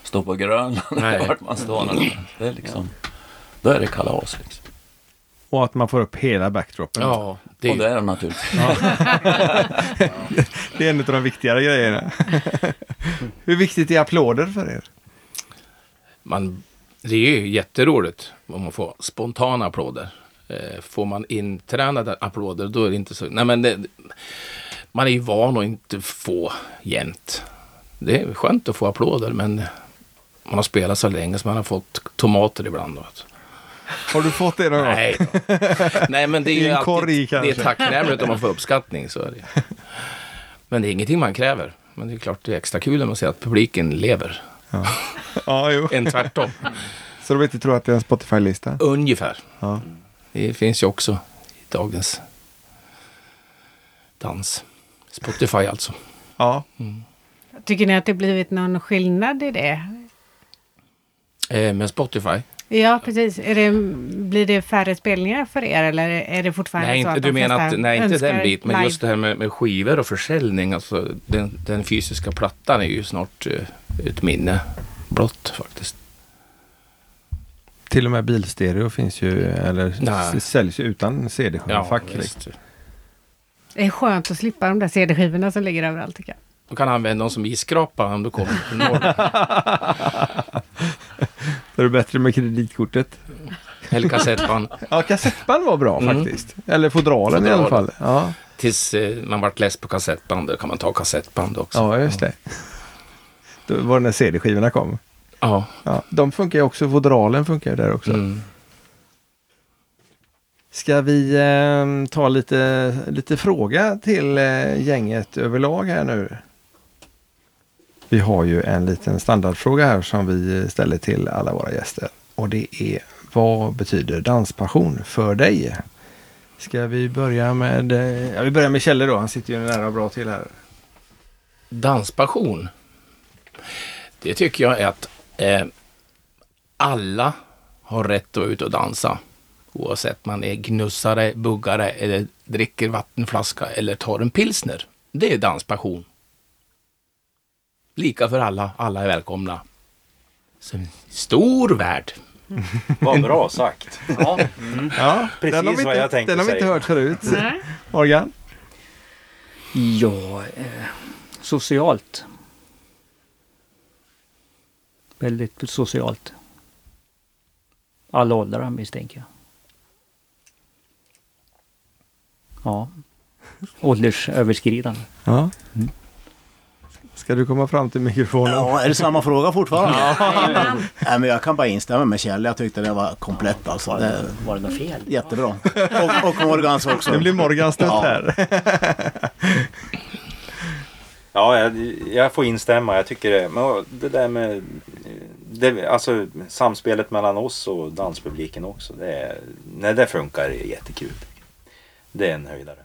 [SPEAKER 3] står på Grönland eller
[SPEAKER 7] Nej. Mm.
[SPEAKER 3] vart man står någonstans. Det är liksom... Då är det kalas liksom.
[SPEAKER 1] Och att man får upp hela backdropen.
[SPEAKER 7] Ja, Det är
[SPEAKER 3] Och
[SPEAKER 7] ju-
[SPEAKER 3] det är de naturligtvis.
[SPEAKER 1] Det är en av de viktigare grejerna. Hur viktigt är applåder för er?
[SPEAKER 7] man, det är ju jätteroligt om man får spontana applåder. Eh, får man intränade applåder då är det inte så... Nej, men det, man är ju van att inte få jämt. Det är skönt att få applåder men man har spelat så länge så man har fått tomater ibland. Då.
[SPEAKER 1] Har du fått det någon gång?
[SPEAKER 7] Nej, då. Nej, men det är
[SPEAKER 1] I
[SPEAKER 7] ju
[SPEAKER 1] en
[SPEAKER 7] alltid,
[SPEAKER 1] korg,
[SPEAKER 7] det är
[SPEAKER 1] kanske.
[SPEAKER 7] tacknämligt om man får uppskattning. Så är det. Men det är ingenting man kräver. Men det är klart det är extra kul när man ser att publiken lever.
[SPEAKER 1] Ja, jo.
[SPEAKER 7] En tvärtom.
[SPEAKER 1] Så de inte tror att det är en Spotify-lista?
[SPEAKER 7] Ungefär.
[SPEAKER 1] Ja.
[SPEAKER 7] Det finns ju också i dagens dans. Spotify alltså.
[SPEAKER 1] Ja.
[SPEAKER 2] Tycker ni att det blivit någon skillnad i det?
[SPEAKER 7] Eh, men Spotify?
[SPEAKER 2] Ja, precis. Är det, blir det färre spelningar för er eller är det fortfarande
[SPEAKER 7] nej,
[SPEAKER 2] så
[SPEAKER 7] inte,
[SPEAKER 2] att de
[SPEAKER 7] du menar
[SPEAKER 2] flesta
[SPEAKER 7] att, nej, inte den
[SPEAKER 2] önskar
[SPEAKER 7] biten. Men
[SPEAKER 2] live?
[SPEAKER 7] just det här med, med skivor och försäljning. Alltså, den, den fysiska plattan är ju snart eh, ett minne blott faktiskt.
[SPEAKER 1] Till och med bilstereo finns ju, eller s-
[SPEAKER 7] Mm. Nej.
[SPEAKER 1] säljs ju utan CD-skivfack.
[SPEAKER 7] visst.
[SPEAKER 2] Det är skönt att slippa de där CD-skivorna som ligger överallt tycker jag.
[SPEAKER 7] Du kan använda dem som isskrapa om du kommer från norr.
[SPEAKER 1] är det bättre med kreditkortet?
[SPEAKER 7] Eller kassettband.
[SPEAKER 1] Ja, kassettband var bra
[SPEAKER 7] Mm.
[SPEAKER 1] faktiskt. Eller fodralen, i alla fall.
[SPEAKER 7] Fodralen.
[SPEAKER 1] Ja,
[SPEAKER 7] Tills eh, man vart less på kassettband. Då kan man ta kassettband också.
[SPEAKER 1] ja just det. Då var det när CD-skivorna kom.
[SPEAKER 7] Ja.
[SPEAKER 1] Ja, de funkar ju också, fodralen funkar ju där också.
[SPEAKER 7] Mm.
[SPEAKER 1] Ska vi eh, ta lite, lite fråga till eh, gänget överlag här nu? Vi har ju en liten standardfråga här som vi ställer till alla våra gäster. Och det är vad betyder danspassion för dig? Ska vi börja med, eh, ja, vi börjar med Kjelle då, han sitter ju nära och bra till här.
[SPEAKER 7] danspassion. Det tycker jag är att eh, alla har rätt att vara ute och dansa. Oavsett man är gnussare, buggare eller dricker vattenflaska eller tar en pilsner. Det är danspassion. Lika för alla, alla är välkomna. Så en stor värld.
[SPEAKER 4] Vad bra sagt.
[SPEAKER 6] Ja.
[SPEAKER 1] Ja,
[SPEAKER 4] Precis
[SPEAKER 1] den har vi
[SPEAKER 4] vad
[SPEAKER 1] inte,
[SPEAKER 4] jag tänkte
[SPEAKER 1] Den har vi inte
[SPEAKER 4] säga.
[SPEAKER 1] hört förut.
[SPEAKER 7] Mm.
[SPEAKER 2] Nej.
[SPEAKER 1] Morgan?
[SPEAKER 6] Ja, eh, socialt. Väldigt socialt. Alla åldrar misstänker jag. Ja. Åldersöverskridande.
[SPEAKER 1] Ja. Ska du komma fram till mikrofonen?
[SPEAKER 5] Ja, är det samma fråga fortfarande? Nej, men jag kan bara instämma med Kjell. Jag tyckte det var komplett alltså. Det är
[SPEAKER 6] Var det något fel?
[SPEAKER 5] jättebra. Och, och Morgans också.
[SPEAKER 1] Det blir Morgans stöt
[SPEAKER 5] Ja.
[SPEAKER 1] här.
[SPEAKER 4] Ja, jag, jag får instämma. Jag tycker det. Men det där med eh, det, alltså, samspelet mellan oss och danspubliken också. Det, är- när det funkar är det jättekul. Det är en höjdare.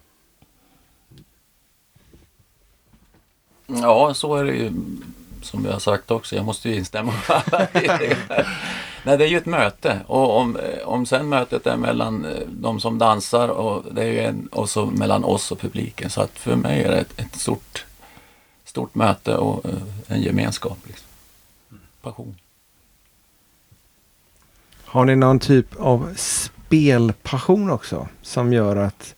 [SPEAKER 3] Ja, så är det ju som vi har sagt också. Jag måste ju instämma. Nej, det är ju ett möte och om, om sen mötet är mellan eh, de som dansar och, det är ju en, och så mellan oss och publiken. Så att för mig är det ett, ett stort, stort möte och eh, en gemenskap. Liksom. Passion.
[SPEAKER 1] Har ni någon typ av spelpassion också som gör att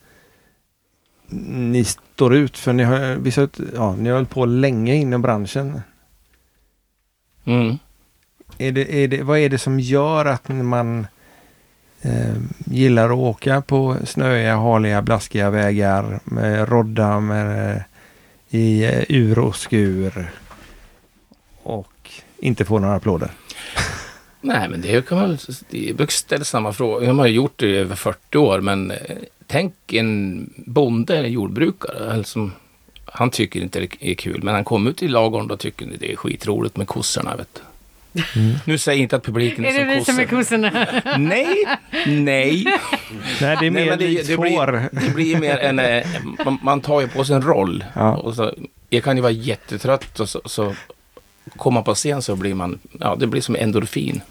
[SPEAKER 1] ni står ut? För ni har, vissa, ja, ni har hållit på länge inom branschen.
[SPEAKER 7] Mm.
[SPEAKER 1] Är det, är det, vad är det som gör att man eh, gillar att åka på snöiga, haliga, blaskiga vägar med rodda med, eh, i eh, ur och skur och inte få några applåder?
[SPEAKER 7] Nej, men det kan man det- jag ställa samma fråga. De har ju gjort det i över 40 år, men eh, tänk en bonde eller jordbrukare. Alltså, han tycker inte det är kul, men han kommer ut i lagorn och tycker det är skitroligt med kossorna. Vet du.
[SPEAKER 1] Mm.
[SPEAKER 7] Nu säger jag inte att publiken är,
[SPEAKER 2] Är det vi
[SPEAKER 7] som
[SPEAKER 2] som är
[SPEAKER 7] kossor.
[SPEAKER 2] kossorna?
[SPEAKER 7] Nej, nej.
[SPEAKER 1] Nej, det är
[SPEAKER 7] nej
[SPEAKER 1] mer
[SPEAKER 7] men
[SPEAKER 1] likt
[SPEAKER 7] det,
[SPEAKER 1] får.
[SPEAKER 7] blir, det blir mer en... eh, Man, man tar ju på sig en roll.
[SPEAKER 1] Ja.
[SPEAKER 7] Och så, jag kan ju vara jättetrött och så, så komma på scen så blir man... Ja, det blir som endorfin.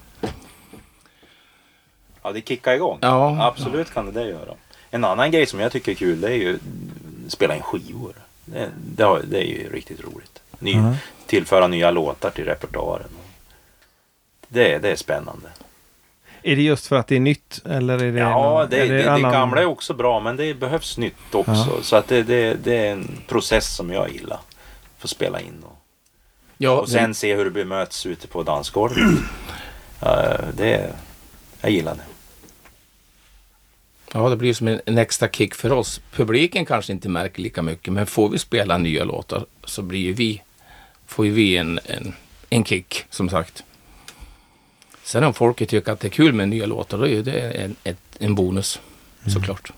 [SPEAKER 4] Ja, det kickar igång.
[SPEAKER 7] Ja.
[SPEAKER 4] Absolut kan det det göra. En annan grej som jag tycker är kul det är ju spela in skivor. Det, det, har, det är ju riktigt roligt. Ny, Tillföra nya låtar till repertoaren. Det, är- det är spännande.
[SPEAKER 1] Är det just för att det är nytt eller är det
[SPEAKER 4] Ja,
[SPEAKER 1] någon-
[SPEAKER 4] det,
[SPEAKER 1] är
[SPEAKER 4] det, det,
[SPEAKER 1] annan-
[SPEAKER 4] gamla är också bra men det behövs nytt också. Så att det, det, det är en process som jag gillar. Få spela in och,
[SPEAKER 7] Ja,
[SPEAKER 4] och sen se hur det bemöts ute på dansgolvet. Eh, det, jag gillar det.
[SPEAKER 7] Ja, det blir som en, en extra kick för oss. Publiken kanske inte märker lika mycket, men får vi spela nya låtar så blir ju vi, får ju vi en, en, en kick, som sagt. Sen om folket tycker att det är kul med nya låtar, då är ju det en, ett, en bonus, såklart.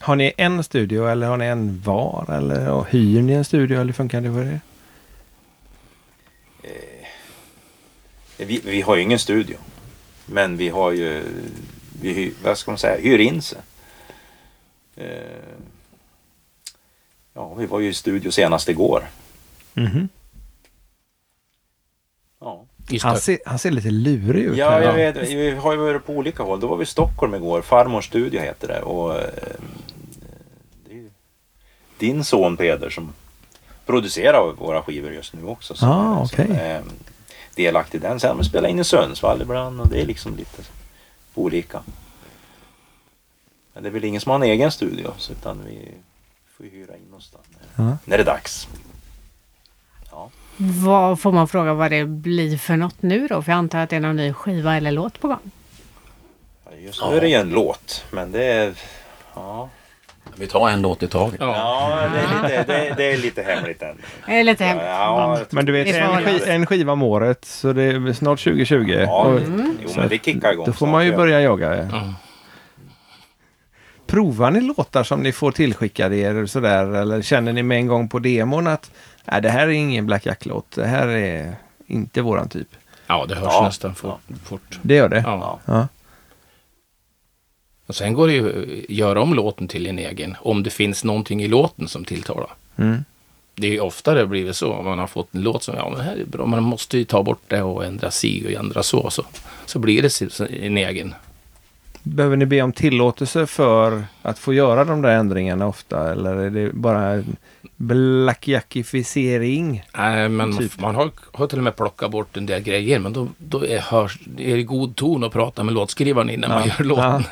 [SPEAKER 1] Har ni en studio eller har ni en var? Eller och hyr ni en studio eller hur funkar det för er?
[SPEAKER 4] Vi, vi har ju ingen studio. Men vi har ju, vi, hy- vad ska man säga, hyr in sig. Eh, ja, vi var ju i studio senast igår.
[SPEAKER 1] Mhm.
[SPEAKER 4] Ja.
[SPEAKER 7] I stö-
[SPEAKER 1] Han, ser, han ser lite lurig ut.
[SPEAKER 4] Ja,
[SPEAKER 1] här.
[SPEAKER 4] jag vet. Vi har ju varit på olika håll. Då var vi i Stockholm igår. Farmors studio heter det. Och, eh, det är ju din son Peder som producerar våra skivor just nu också. som
[SPEAKER 1] Ah,
[SPEAKER 4] är- som
[SPEAKER 1] okej.
[SPEAKER 4] är delaktig i den. Sen har vi spelat in i Sundsvall ibland och det är liksom lite olika. Men det är väl ingen som har en egen studio så utan vi får ju hyra in oss där när,
[SPEAKER 1] Ja.
[SPEAKER 4] när det är dags. Ja.
[SPEAKER 2] Vad får man fråga vad det blir för något nu då? För jag antar att det är någon ny skiva eller låt på gång.
[SPEAKER 4] Ja, Just nu är det ju en låt men det är... Ja.
[SPEAKER 3] Vi tar en låt i taget.
[SPEAKER 7] ja.
[SPEAKER 4] Ja, det är lite, det, det är lite hemligt än.
[SPEAKER 2] Är lite hemligt.
[SPEAKER 4] Ja,
[SPEAKER 1] Men du vet,
[SPEAKER 2] Vi får
[SPEAKER 1] en,
[SPEAKER 2] hålla
[SPEAKER 1] ski,
[SPEAKER 4] oss.
[SPEAKER 1] en skiva om året så det är snart 2020.
[SPEAKER 4] ja,
[SPEAKER 1] Och
[SPEAKER 4] jo, men det kickar igång.
[SPEAKER 1] då får
[SPEAKER 4] snart,
[SPEAKER 1] man ju
[SPEAKER 4] ja.
[SPEAKER 1] börja jaga.
[SPEAKER 7] Ja.
[SPEAKER 1] Provar ni låtar som ni får tillskickade er sådär? Eller känner ni med en gång på demon att nej, det här är ingen Black Jack-låt. Det här är inte våran typ.
[SPEAKER 7] ja, det hörs
[SPEAKER 4] Ja.
[SPEAKER 7] nästan fort. fort.
[SPEAKER 1] Det gör det?
[SPEAKER 7] Ja.
[SPEAKER 1] Ja.
[SPEAKER 7] Och sen går det ju att göra om låten till en egen, om det finns någonting i låten som tilltalar.
[SPEAKER 1] Mm.
[SPEAKER 7] Det är ju ofta det har blivit så, om man har fått en låt som, ja men det här är bra, man måste ju ta bort det och ändra si och ändra så, så, så blir det sin- en egen.
[SPEAKER 1] Behöver ni be om tillåtelse för att få göra de där ändringarna ofta? Eller är det bara en Black Jackificering?
[SPEAKER 7] Nej, men
[SPEAKER 1] Typ.
[SPEAKER 7] man har, har till och med plockat bort en del grejer, men då, då är, hörs, det är det god ton att prata med låtskrivaren innan man gör
[SPEAKER 1] Ja.
[SPEAKER 7] låten.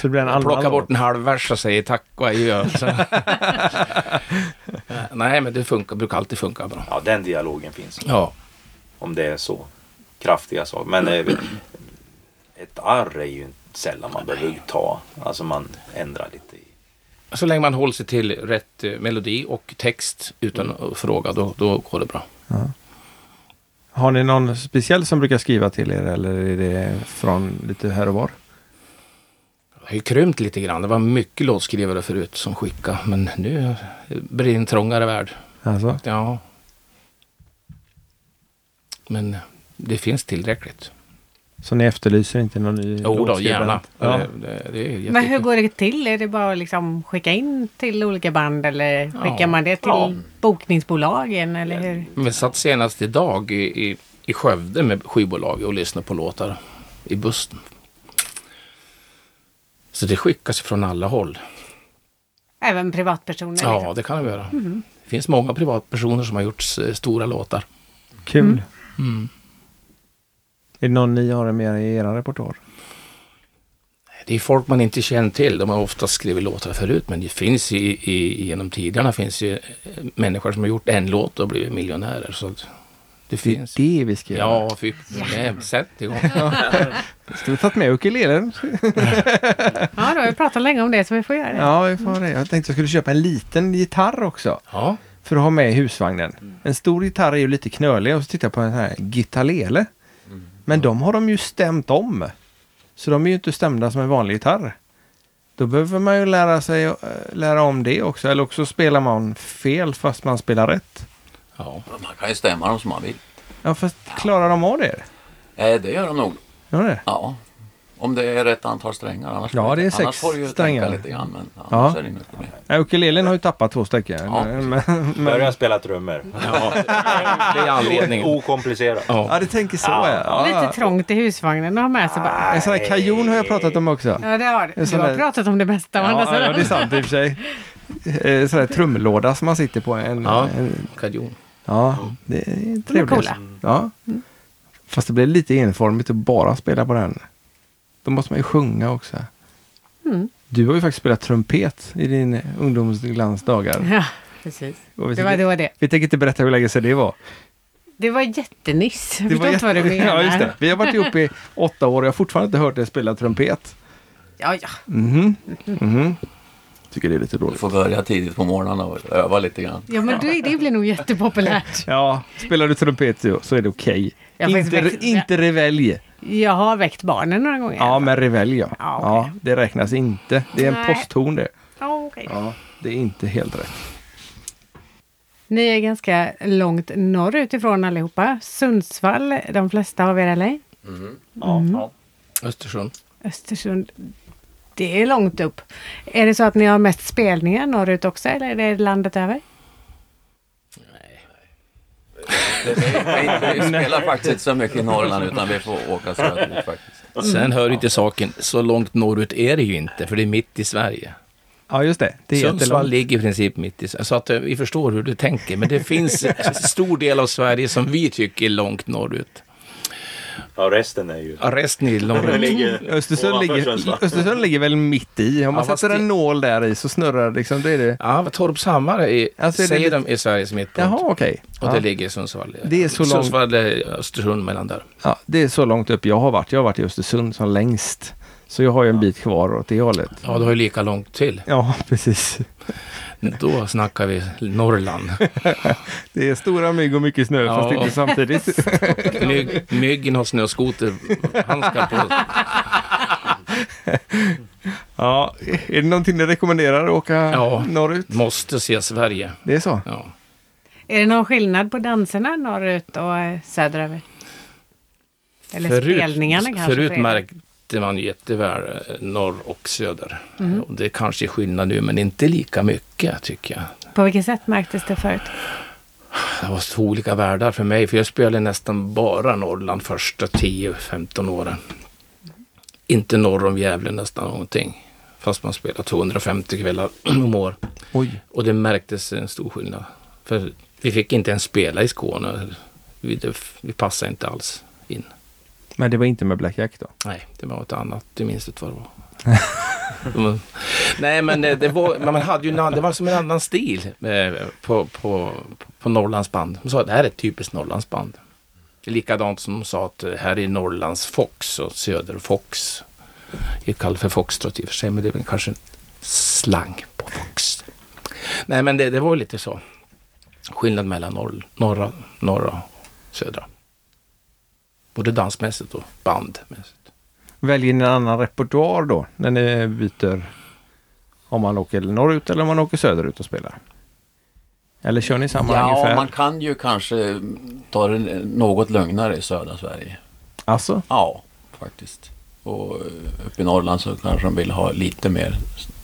[SPEAKER 1] Så det blir en annan
[SPEAKER 7] Plocka
[SPEAKER 1] låt.
[SPEAKER 7] bort en halv vers och säger tack och adjö. Så. Nej, men det funkar, brukar alltid funka bra.
[SPEAKER 4] Ja, den dialogen finns.
[SPEAKER 7] Ja,
[SPEAKER 4] Om det är så kraftiga saker. Men eh, ett arr är ju sällan man behöver ta. Alltså man ändrar lite. i-
[SPEAKER 7] så länge man håller sig till rätt eh, melodi och text utan att fråga, då, då går det bra.
[SPEAKER 1] Har ni någon speciell som brukar skriva till er eller är det från lite här och var?
[SPEAKER 7] Det har ju krympt lite grann. Det var mycket låtskrivare förut som skickade, men nu blir det en trångare värld.
[SPEAKER 1] Alltså,
[SPEAKER 7] Ja. Men det finns tillräckligt.
[SPEAKER 1] så ni efterlyser inte någon ny
[SPEAKER 7] Jo då,
[SPEAKER 1] låtskrivare?
[SPEAKER 7] gärna.
[SPEAKER 1] Ja.
[SPEAKER 7] Eh, Det, det, det är jättekul.
[SPEAKER 2] Men hur går det till? Är det bara att liksom skicka in till olika band eller skickar
[SPEAKER 7] Ja.
[SPEAKER 2] man det till bokningsbolagen eller hur?
[SPEAKER 7] Vi satt senast idag i, i, i Skövde med skivbolaget och lyssnade på låtar i bussen. Så det skickas från alla håll.
[SPEAKER 2] Även privatpersoner?
[SPEAKER 7] Ja,
[SPEAKER 2] liksom?
[SPEAKER 7] det kan det göra. Det finns många privatpersoner som har gjort s- stora låtar.
[SPEAKER 1] Kul.
[SPEAKER 7] Mm.
[SPEAKER 1] Är det någon ni har med i era repertoar?
[SPEAKER 7] Det är folk man inte känner till. De har ofta skrivit låtar förut, men det finns i, i, genom tiderna finns ju eh, människor som har gjort en låt och blivit miljonärer. Så att det
[SPEAKER 1] Det är
[SPEAKER 7] finns.
[SPEAKER 1] det vi ska göra.
[SPEAKER 7] Ja, fy, nej, sätt igång.
[SPEAKER 1] Ska vi tagit med ukulelen?
[SPEAKER 2] Ja, då har vi pratat länge om det så vi får göra det.
[SPEAKER 1] Ja, vi får ha det. Jag tänkte jag skulle köpa en liten gitarr också.
[SPEAKER 7] Ja,
[SPEAKER 1] för att ha med i husvagnen. En stor gitarr är ju lite knölig och så tittar jag på en sån här gitarrlele. Men de har de ju stämt om. Så de är ju inte stämda som en vanlig gitarr. Då behöver man ju lära sig eh, lära om det också. Eller också spelar man fel fast man spelar rätt.
[SPEAKER 7] ja.
[SPEAKER 3] Man kan ju stämma dem som man vill.
[SPEAKER 1] Ja, fast klarar de av det?
[SPEAKER 3] Eh, det gör de nog.
[SPEAKER 1] Gör det?
[SPEAKER 3] Ja. Om det är rätt antal strängar. Annars
[SPEAKER 1] Ja, det är
[SPEAKER 3] annars
[SPEAKER 1] sex
[SPEAKER 3] får du ju
[SPEAKER 1] strängar.
[SPEAKER 3] tänka lite grann. Men annars
[SPEAKER 1] Ja.
[SPEAKER 3] är det inget problem.
[SPEAKER 1] Ja, ukulelen har ju tappat två stycken.
[SPEAKER 3] Ja,
[SPEAKER 1] men, men,
[SPEAKER 4] Börja spela trummor.
[SPEAKER 7] Det är anledningen.
[SPEAKER 4] Okomplicerat.
[SPEAKER 1] ja, det tänker så. Ja. Ja. Ah.
[SPEAKER 2] Lite trångt i husvagnen att ha med sig bara.
[SPEAKER 1] En sån här kajon har jag pratat om också.
[SPEAKER 2] Ja, det har du.
[SPEAKER 1] En
[SPEAKER 2] Du
[SPEAKER 1] sån
[SPEAKER 2] har
[SPEAKER 1] där-
[SPEAKER 2] pratat om det mesta å andra
[SPEAKER 1] Ja, ja,
[SPEAKER 2] sidan.
[SPEAKER 1] det är sant i och för sig. Eh, Sån här trumlåda som man sitter på. En,
[SPEAKER 7] Ja.
[SPEAKER 1] en,
[SPEAKER 7] Kajon.
[SPEAKER 1] Ja, det är
[SPEAKER 2] De är Mm.
[SPEAKER 1] trevligt.
[SPEAKER 2] coola.
[SPEAKER 1] Ja. Fast det blir lite enformigt att bara spela på den. Då måste man ju sjunga också.
[SPEAKER 2] Mm.
[SPEAKER 1] Du har ju faktiskt spelat trumpet i din ungdomsglansdagar.
[SPEAKER 2] Ja, precis.
[SPEAKER 1] Och vi,
[SPEAKER 2] Det var
[SPEAKER 1] tänker,
[SPEAKER 2] då det.
[SPEAKER 1] vi tänker inte berätta hur länge sedan det var.
[SPEAKER 2] Det var jättenyss. Jag
[SPEAKER 1] Det
[SPEAKER 2] förstår
[SPEAKER 1] var
[SPEAKER 2] inte vad du
[SPEAKER 1] jätte-
[SPEAKER 2] menar.
[SPEAKER 1] Ja, just det. Vi har varit ihop i åtta år och jag har fortfarande inte hört dig spela trumpet.
[SPEAKER 2] Ja, ja.
[SPEAKER 1] Mhm. Mhm. Tycker det är lite
[SPEAKER 3] Du
[SPEAKER 1] dåligt.
[SPEAKER 3] får börja tidigt på morgonen och öva lite grann.
[SPEAKER 2] ja men det, det blir nog jättepopulärt.
[SPEAKER 1] Ja, spelar du trumpet så- så är det okej.
[SPEAKER 2] Jag har
[SPEAKER 1] Inte,
[SPEAKER 2] faktiskt-
[SPEAKER 1] inte revelj.
[SPEAKER 2] Jag har väckt barnen några gånger.
[SPEAKER 1] Ja, men revelj ja.
[SPEAKER 2] Ja,
[SPEAKER 1] ja. Det räknas inte. Det är en
[SPEAKER 2] Nej.
[SPEAKER 1] postton det.
[SPEAKER 2] Ja, okej.
[SPEAKER 1] Ja, det är inte helt rätt.
[SPEAKER 2] Ni är ganska långt norrut ifrån allihopa. Sundsvall, de flesta av er eller?
[SPEAKER 7] Östersund.
[SPEAKER 2] Östersund. Det är långt upp. Är det så att ni har mest spelningar norrut också eller är det landet över?
[SPEAKER 3] Vi, vi spelar faktiskt inte så mycket i Norrland utan vi får åka söderut faktiskt.
[SPEAKER 7] Sen hör ju till saken, så långt norrut är det ju inte, för det är mitt i Sverige.
[SPEAKER 1] Ja, just det. Det är
[SPEAKER 7] Sundsvall
[SPEAKER 1] jättelångt.
[SPEAKER 7] ligger i princip mitt i Sverige. Så att eh, vi förstår hur du tänker, men det finns en stor del av Sverige som vi tycker är långt norrut.
[SPEAKER 4] Ja, resten är ju...
[SPEAKER 7] Ja, Resten är långt
[SPEAKER 4] Den ligger
[SPEAKER 1] Mm. Östersund
[SPEAKER 4] ovanför
[SPEAKER 1] ligger,
[SPEAKER 4] Sundsvall.
[SPEAKER 1] Östersund ligger väl mitt i. Om man
[SPEAKER 7] Ja, fast
[SPEAKER 1] sätter en
[SPEAKER 7] det-
[SPEAKER 1] nål där i så snurrar det liksom. Det är det.
[SPEAKER 7] Ja, Torpshammar är,
[SPEAKER 1] Alltså, är det
[SPEAKER 7] säger
[SPEAKER 1] lite-
[SPEAKER 7] de är Sveriges mittpunkt.
[SPEAKER 1] Jaha, okej.
[SPEAKER 7] Och det
[SPEAKER 1] Ja.
[SPEAKER 7] ligger i Sundsvall.
[SPEAKER 1] Det är så långt-
[SPEAKER 7] Sundsvall, eh, Östersund, mellan där.
[SPEAKER 1] Ja, det är så långt upp jag har varit. Jag har varit i Östersund som längst. Så jag har ju en bit kvar åt det hållet.
[SPEAKER 7] Ja, du har ju lika långt till.
[SPEAKER 1] Ja, precis.
[SPEAKER 7] Då snackar vi Norrland.
[SPEAKER 1] Det är stora mygg och mycket snö,
[SPEAKER 7] Ja.
[SPEAKER 1] fast inte samtidigt.
[SPEAKER 7] Mygg, myggen har snöskoterhandskar på sig.
[SPEAKER 1] ja, är det någonting ni rekommenderar att åka
[SPEAKER 7] Ja.
[SPEAKER 1] norrut?
[SPEAKER 7] Måste se Sverige.
[SPEAKER 1] Det är så?
[SPEAKER 7] Ja.
[SPEAKER 2] Är det någon skillnad på danserna norrut och eh, söderöver? Eller spelningarna kanske?
[SPEAKER 7] Förut
[SPEAKER 2] för er?
[SPEAKER 7] märkte man jätteväl eh, norr och söder.
[SPEAKER 2] Mhm.
[SPEAKER 7] Och det kanske är skillnad nu, men inte lika mycket tycker jag.
[SPEAKER 2] På vilket sätt märktes det förut?
[SPEAKER 7] Det var två olika världar för mig, för jag spelade nästan bara Norrland första 10-15 åren. Inte norr om Gävle nästan någonting. Fast man spelar 250 kvällar om år.
[SPEAKER 1] Oj.
[SPEAKER 7] Och det märktes en stor skillnad. För vi fick inte ens spela i Skåne. Vi, det, vi passade inte alls in.
[SPEAKER 1] Men det var inte med Black Jack då?
[SPEAKER 7] Nej, det var något annat. Du minns inte vad det var. Mm. Nej, men eh, det var, men man hade ju en, annan- det var som en annan stil eh, på, på, på Norrlandsband. De sa att det här är ett typiskt Norrlandsband. Likadant som de sa att eh, här är Norrlands Fox och Söder Fox. Jag kallar för Foxtrot i och för sig, men det är väl kanske en slang på Fox. Nej, men det, det var ju lite så. Skillnad mellan norr, norra, norra och södra. Både dansmässigt och bandmässigt.
[SPEAKER 1] Väljer ni en annan repertoar då, när ni byter? Om man åker norrut eller om man åker söderut och spelar? Eller kör ni samma
[SPEAKER 3] Ja,
[SPEAKER 1] ungefär?
[SPEAKER 3] man kan ju kanske ta det något lugnare i södra Sverige.
[SPEAKER 1] Alltså?
[SPEAKER 3] Ja, faktiskt. Och eh, uppe i Norrland så kanske de vill ha lite mer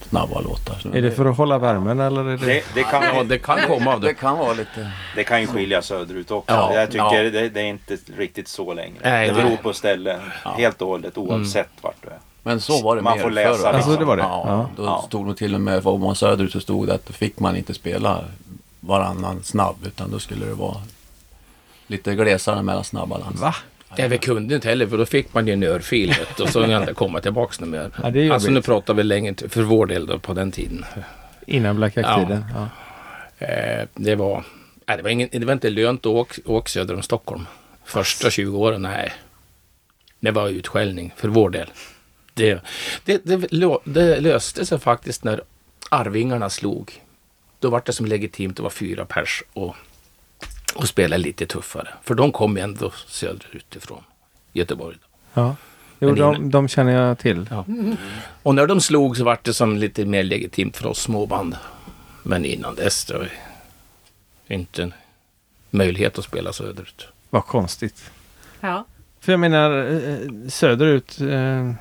[SPEAKER 3] snabba låtar. Så
[SPEAKER 1] Är det för att hålla värmen eller? Är det...
[SPEAKER 4] Det, det,
[SPEAKER 7] Ja,
[SPEAKER 4] kan,
[SPEAKER 7] det kan komma av
[SPEAKER 3] det
[SPEAKER 7] det.
[SPEAKER 3] kan vara lite...
[SPEAKER 4] det kan ju skilja söderut också.
[SPEAKER 3] Ja,
[SPEAKER 4] jag tycker
[SPEAKER 3] ja.
[SPEAKER 4] det, det är inte riktigt så längre.
[SPEAKER 7] Nej,
[SPEAKER 4] det
[SPEAKER 7] nej. Mm.
[SPEAKER 4] beror på ställe helt och hållet oavsett vart du är.
[SPEAKER 3] Men så var det
[SPEAKER 4] Man
[SPEAKER 3] mer
[SPEAKER 4] får läsa
[SPEAKER 3] förr.
[SPEAKER 4] liksom.
[SPEAKER 1] Alltså, det var det?
[SPEAKER 3] Ja,
[SPEAKER 1] Ja.
[SPEAKER 3] Då
[SPEAKER 4] Ja.
[SPEAKER 3] stod det till och med, om man söderut så stod det att då fick man inte spela varannan snabb utan då skulle det vara lite glesare mellan snabba lands.
[SPEAKER 1] Va?
[SPEAKER 7] Nej, vi kunde inte heller för då fick man ju en örfil vet du, och så kunde jag inte komma tillbaks något mer.
[SPEAKER 1] Ja, det är
[SPEAKER 7] alltså nu
[SPEAKER 1] jobbigt.
[SPEAKER 7] pratar vi länge, till- för vår del då, på den tiden.
[SPEAKER 1] Innan Black Jack-tiden? Ja.
[SPEAKER 7] Eh, det, var, nej, det, var ingen, det var inte lönt att åka, åka söder om Stockholm. Första 20 åren, nej. Det var utskällning för vår del. Det, det, det, lö- det löste sig faktiskt när Arvingarna slog. Då var det som legitimt att vara fyra pers och, och spela lite tuffare. För de kom ju ändå söderut ifrån Göteborg.
[SPEAKER 1] Ja. Jo,
[SPEAKER 7] Men
[SPEAKER 1] de, de känner jag till.
[SPEAKER 7] Ja. Och när de slog så vart det som lite mer legitimt för oss småband. Men innan dess det var ju inte en möjlighet att spela söderut.
[SPEAKER 1] Vad konstigt.
[SPEAKER 2] Ja.
[SPEAKER 1] För jag menar eh, söderut. eh,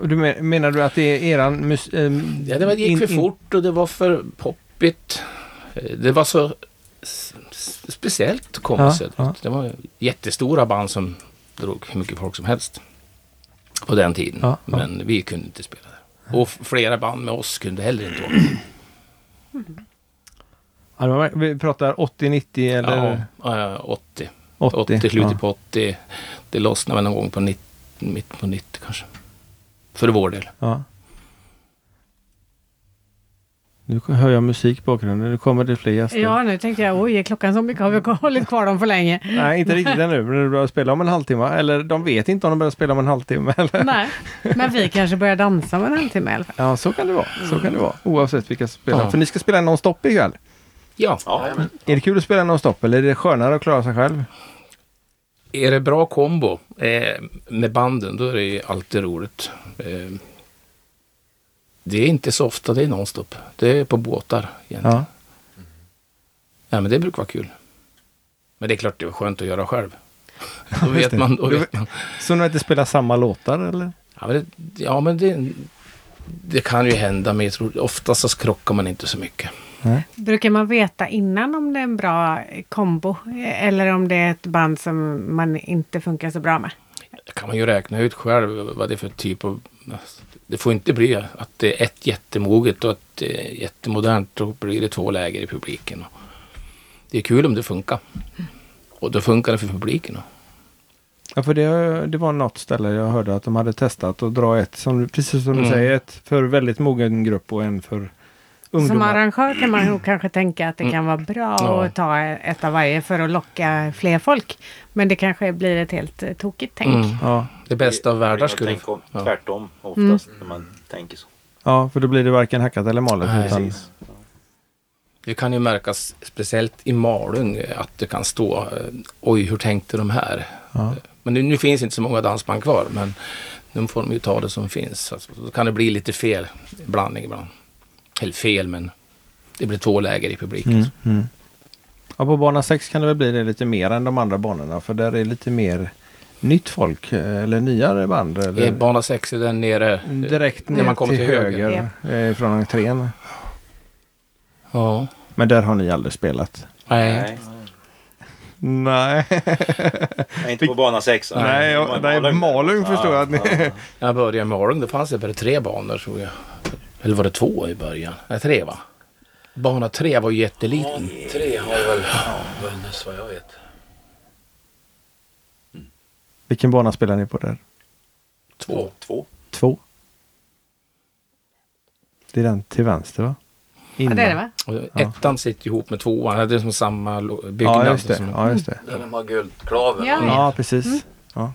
[SPEAKER 1] och du men, menar du att det är eran mus, eh,
[SPEAKER 7] Ja, det var, det gick
[SPEAKER 1] in-
[SPEAKER 7] för
[SPEAKER 1] in-
[SPEAKER 7] fort och det var för poppigt. Eh, Det var så s- s- speciellt att komma
[SPEAKER 1] Ja,
[SPEAKER 7] söderut.
[SPEAKER 1] ja.
[SPEAKER 7] Det var jättestora band som drog hur mycket folk som helst på den tiden.
[SPEAKER 1] Ja, ja.
[SPEAKER 7] Men vi kunde inte spela där. Och f- flera band med oss kunde heller inte åka.
[SPEAKER 1] Ja, det var- vi pratar 80, 90 eller?
[SPEAKER 7] Ja, eh, 80.
[SPEAKER 1] 80,
[SPEAKER 7] 80, slutet
[SPEAKER 1] ja.
[SPEAKER 7] på 80. Det lossnade väl någon gång på 90, mitten på 90 kanske. För vår del.
[SPEAKER 1] Ja. Nu hör jag musik i bakgrunden. Nu kommer det fler gäster.
[SPEAKER 2] Ja, nu tänkte jag, oj, är klockan så mycket? Har vi hållit kvar dem för länge?
[SPEAKER 1] Nej, inte riktigt ännu. Men de börjar spela om en halvtimme. Eller de vet inte om de börjar spela om en halvtimme. Eller?
[SPEAKER 2] Nej, men vi kanske börjar dansa om en halvtimme i alla fall.
[SPEAKER 1] Ja, så kan det vara. Så kan det vara. Oavsett vilka spelar.
[SPEAKER 7] Ja.
[SPEAKER 1] För ni ska spela nonstop ikväll.
[SPEAKER 7] Ja,
[SPEAKER 4] Ja, men
[SPEAKER 1] Är det kul att spela nonstop eller är det skönare att klara sig själv?
[SPEAKER 7] är det bra kombo eh, med banden då är det alltid roligt. Eh, det är inte så ofta det är nonstop. Det är på båtar egentligen.
[SPEAKER 1] Ja.
[SPEAKER 7] Ja, men det brukar vara kul. Men det är klart det var skönt att göra själv. Då
[SPEAKER 1] Just
[SPEAKER 7] vet
[SPEAKER 1] det.
[SPEAKER 7] man. Då
[SPEAKER 1] Då
[SPEAKER 7] vet
[SPEAKER 1] vet-
[SPEAKER 7] man.
[SPEAKER 1] Så ni inte spelar samma låtar eller?
[SPEAKER 7] Ja, men, det, ja, men det, det kan ju hända, men jag tror oftast så krockar man inte så mycket.
[SPEAKER 2] Brukar man veta innan om det är en bra kombo? Eller om det är ett band som man inte funkar så bra med?
[SPEAKER 7] Det kan man ju räkna ut själv vad det är för typ av... Det får inte bli att det är ett jättemoget och ett eh, jättemodernt. Då blir det två läger i publiken. Det är kul om det funkar. Och då funkar det för publiken.
[SPEAKER 1] Ja, för det, det var något ställe jag hörde att de hade testat att dra ett, som, precis som du
[SPEAKER 7] Mm.
[SPEAKER 1] säger, ett för väldigt mogen grupp och en för
[SPEAKER 2] Som
[SPEAKER 1] ungdomar.
[SPEAKER 2] arrangör kan man nog kanske tänka att det kan vara bra
[SPEAKER 7] Ja.
[SPEAKER 2] att ta ett av varje för att locka fler folk. Men det kanske blir ett helt eh, tokigt tänk.
[SPEAKER 7] Mm.
[SPEAKER 1] Ja,
[SPEAKER 7] Det bästa av världar
[SPEAKER 4] jag
[SPEAKER 7] skulle...
[SPEAKER 4] tänker om,
[SPEAKER 7] Ja. Mm.
[SPEAKER 4] tvärtom oftast när man tänker så.
[SPEAKER 1] ja, för då blir det varken hackat eller malet.
[SPEAKER 7] Nej,
[SPEAKER 1] utan,
[SPEAKER 4] Precis.
[SPEAKER 7] Det kan ju märkas, speciellt i Malung, eh, att det kan stå eh, Oj, hur tänkte de här?
[SPEAKER 1] ja.
[SPEAKER 7] Men nu, nu finns inte så många dansband kvar, men nu får de ju ta det som finns. Alltså, då kan det bli lite fel blandning ibland. Eller fel, men det blir två läger i publiken.
[SPEAKER 1] Mm, mm. Ja, på bana 6 kan det väl bli det lite mer än de andra banorna för där är lite mer nytt folk eh, eller nyare band. Eller
[SPEAKER 7] Eh, Bana 6 är där nere. eh,
[SPEAKER 3] Mm.
[SPEAKER 1] direkt ner
[SPEAKER 7] när man kommer
[SPEAKER 1] till
[SPEAKER 7] till höger.
[SPEAKER 1] höger, eh, från entrén.
[SPEAKER 7] Ja.
[SPEAKER 1] Men där har ni aldrig spelat?
[SPEAKER 7] Nej.
[SPEAKER 4] Nej.
[SPEAKER 1] Nej,
[SPEAKER 4] Nej, inte på bana 6.
[SPEAKER 1] nej, jag, nej Malung förstår jag att ni...
[SPEAKER 7] När jag började i Malung, då fanns det bara tre banor tror jag. Eller var det två i början? Nej, tre va? Bana 3 var ju jätteliten.
[SPEAKER 3] Tre har väl vunnits vad jag vet.
[SPEAKER 1] Vilken bana spelar ni på där?
[SPEAKER 7] Två.
[SPEAKER 4] Två.
[SPEAKER 1] Två? Det är den till vänster va?
[SPEAKER 2] Ja,
[SPEAKER 1] Innan.
[SPEAKER 2] det är det va?
[SPEAKER 7] Och ettan sitter ihop med tvåan. Det är som samma lo- byggnad.
[SPEAKER 1] Ja, just det.
[SPEAKER 7] Som,
[SPEAKER 1] Ja, just det.
[SPEAKER 3] Där de har guldklaven.
[SPEAKER 2] Ja.
[SPEAKER 1] ja precis.
[SPEAKER 2] Mm.
[SPEAKER 1] Ja.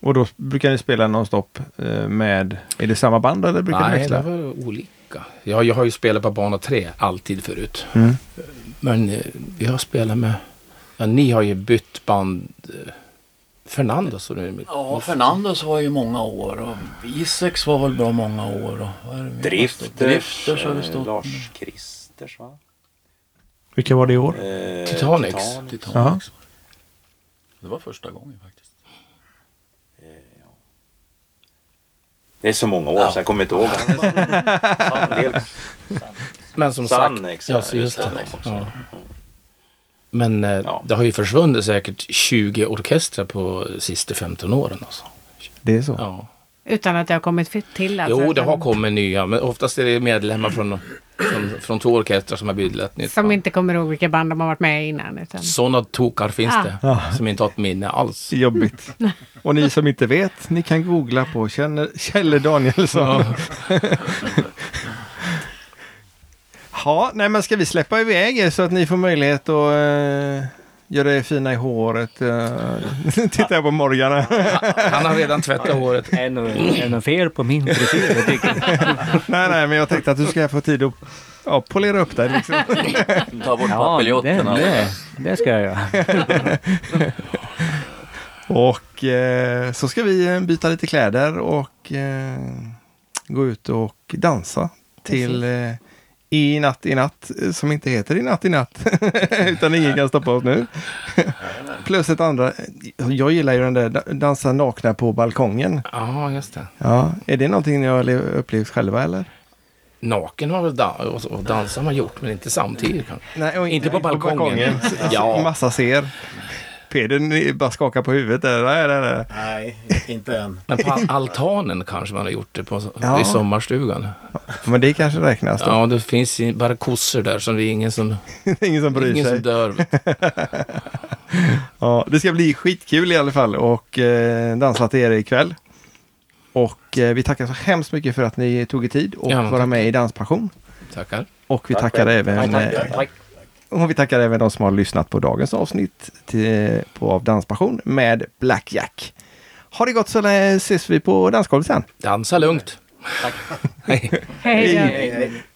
[SPEAKER 1] Och då brukar ni spela nonstop eh, med, är det samma band eller brukar ni
[SPEAKER 7] Nej, det
[SPEAKER 1] växla?
[SPEAKER 7] var olika. Jag, jag har ju spelat på bana 3 alltid förut.
[SPEAKER 1] Mm.
[SPEAKER 7] Men eh, vi har spelat med... Ja, ni har ju bytt band. eh, Fernando så nu.
[SPEAKER 3] Ja, Fernandes var ju många år och Iseks var väl bra många år. Och, vad är det mer?
[SPEAKER 4] Drifters.
[SPEAKER 3] Drifters har vi
[SPEAKER 4] eh,
[SPEAKER 3] stått.
[SPEAKER 4] Lars Kristers va?
[SPEAKER 1] Vilka var det i år?
[SPEAKER 4] Eh,
[SPEAKER 7] Titanics.
[SPEAKER 3] Titanics. Det var första gången faktiskt.
[SPEAKER 4] Det är så många år så jag kommer inte ihåg. En del-
[SPEAKER 7] Men som
[SPEAKER 4] Sannex.
[SPEAKER 7] sagt. Ja, så just det.
[SPEAKER 4] Sannex också.
[SPEAKER 7] Ja. Men eh,
[SPEAKER 4] Ja.
[SPEAKER 7] det har ju försvunnit säkert 20 orkestrar på sista 15 åren. Alltså.
[SPEAKER 1] Det är så?
[SPEAKER 7] Ja.
[SPEAKER 2] Utan att det har kommit fi- till alltså.
[SPEAKER 7] Jo, det har
[SPEAKER 2] utan-
[SPEAKER 7] kommit nya, men oftast är det medlemmar från, från, från två orkestrar som har bildat ett nytt
[SPEAKER 2] Som
[SPEAKER 7] band.
[SPEAKER 2] inte kommer ihåg vilka band de har varit med i innan. Utan...
[SPEAKER 7] Sådana tokar finns
[SPEAKER 2] Ah.
[SPEAKER 7] det,
[SPEAKER 1] Ja.
[SPEAKER 7] som inte har ett minne alls.
[SPEAKER 1] Jobbigt. Och ni som inte vet, ni kan googla på Kjell, Kjell Danielsson. Ja. nej men ska vi släppa iväg er så att ni får möjlighet att eh, göra er fina i håret. Eh, titta på Morgan här.
[SPEAKER 7] Han har redan tvättat håret.
[SPEAKER 6] Är nog- är nog fel på min frisyr, det tycker jag.
[SPEAKER 1] nej, nej, men jag tänkte att du ska få tid att ja, polera upp dig. Liksom.
[SPEAKER 3] Ta bort
[SPEAKER 6] Ja, det,
[SPEAKER 3] papiljotterna.
[SPEAKER 6] det, det ska jag göra.
[SPEAKER 1] Och eh, så ska vi eh, byta lite kläder och eh, gå ut och dansa till eh, I natt i natt, eh, som inte heter I natt i natt, utan ingen kan stoppa oss nu. Plus ett andra, jag gillar ju den där da- dansa nakna på balkongen.
[SPEAKER 7] Ja, just det.
[SPEAKER 1] Ja, är det någonting ni har le- upplevt själva eller?
[SPEAKER 7] Naken har väl dan- och- och dansa har man gjort, men inte samtidigt kanske.
[SPEAKER 1] Nej, och
[SPEAKER 7] Inte på balkongen. Ja.
[SPEAKER 1] Massa Alltså, ser. Peder ni bara skakar på huvudet. Där. Nej, nej, nej.
[SPEAKER 5] Nej, inte än.
[SPEAKER 7] Men på altanen kanske man har gjort det på,
[SPEAKER 1] Ja.
[SPEAKER 7] i sommarstugan.
[SPEAKER 1] Men det kanske räknas då.
[SPEAKER 7] Ja, det finns ju bara kossor där så det är ingen som,
[SPEAKER 1] Ingen som bryr
[SPEAKER 7] ingen
[SPEAKER 1] sig.
[SPEAKER 7] som dör.
[SPEAKER 1] Ja, det ska bli skitkul i alla fall och eh, dansa till er ikväll. Och eh, vi tackar så hemskt mycket för att ni tog er tid och
[SPEAKER 7] Ja, men
[SPEAKER 1] vara med i Danspassion.
[SPEAKER 7] Tackar.
[SPEAKER 1] Och vi tackar även eh,
[SPEAKER 6] Tack.
[SPEAKER 1] och vi tackar även de som har lyssnat på dagens avsnitt till, eh, på, av Danspassion med Blackjack. Ha det gott så lä- ses vi på dansgolvet sen.
[SPEAKER 7] Dansa lugnt.
[SPEAKER 6] Tack.
[SPEAKER 2] Hej då.
[SPEAKER 5] Hej, hej.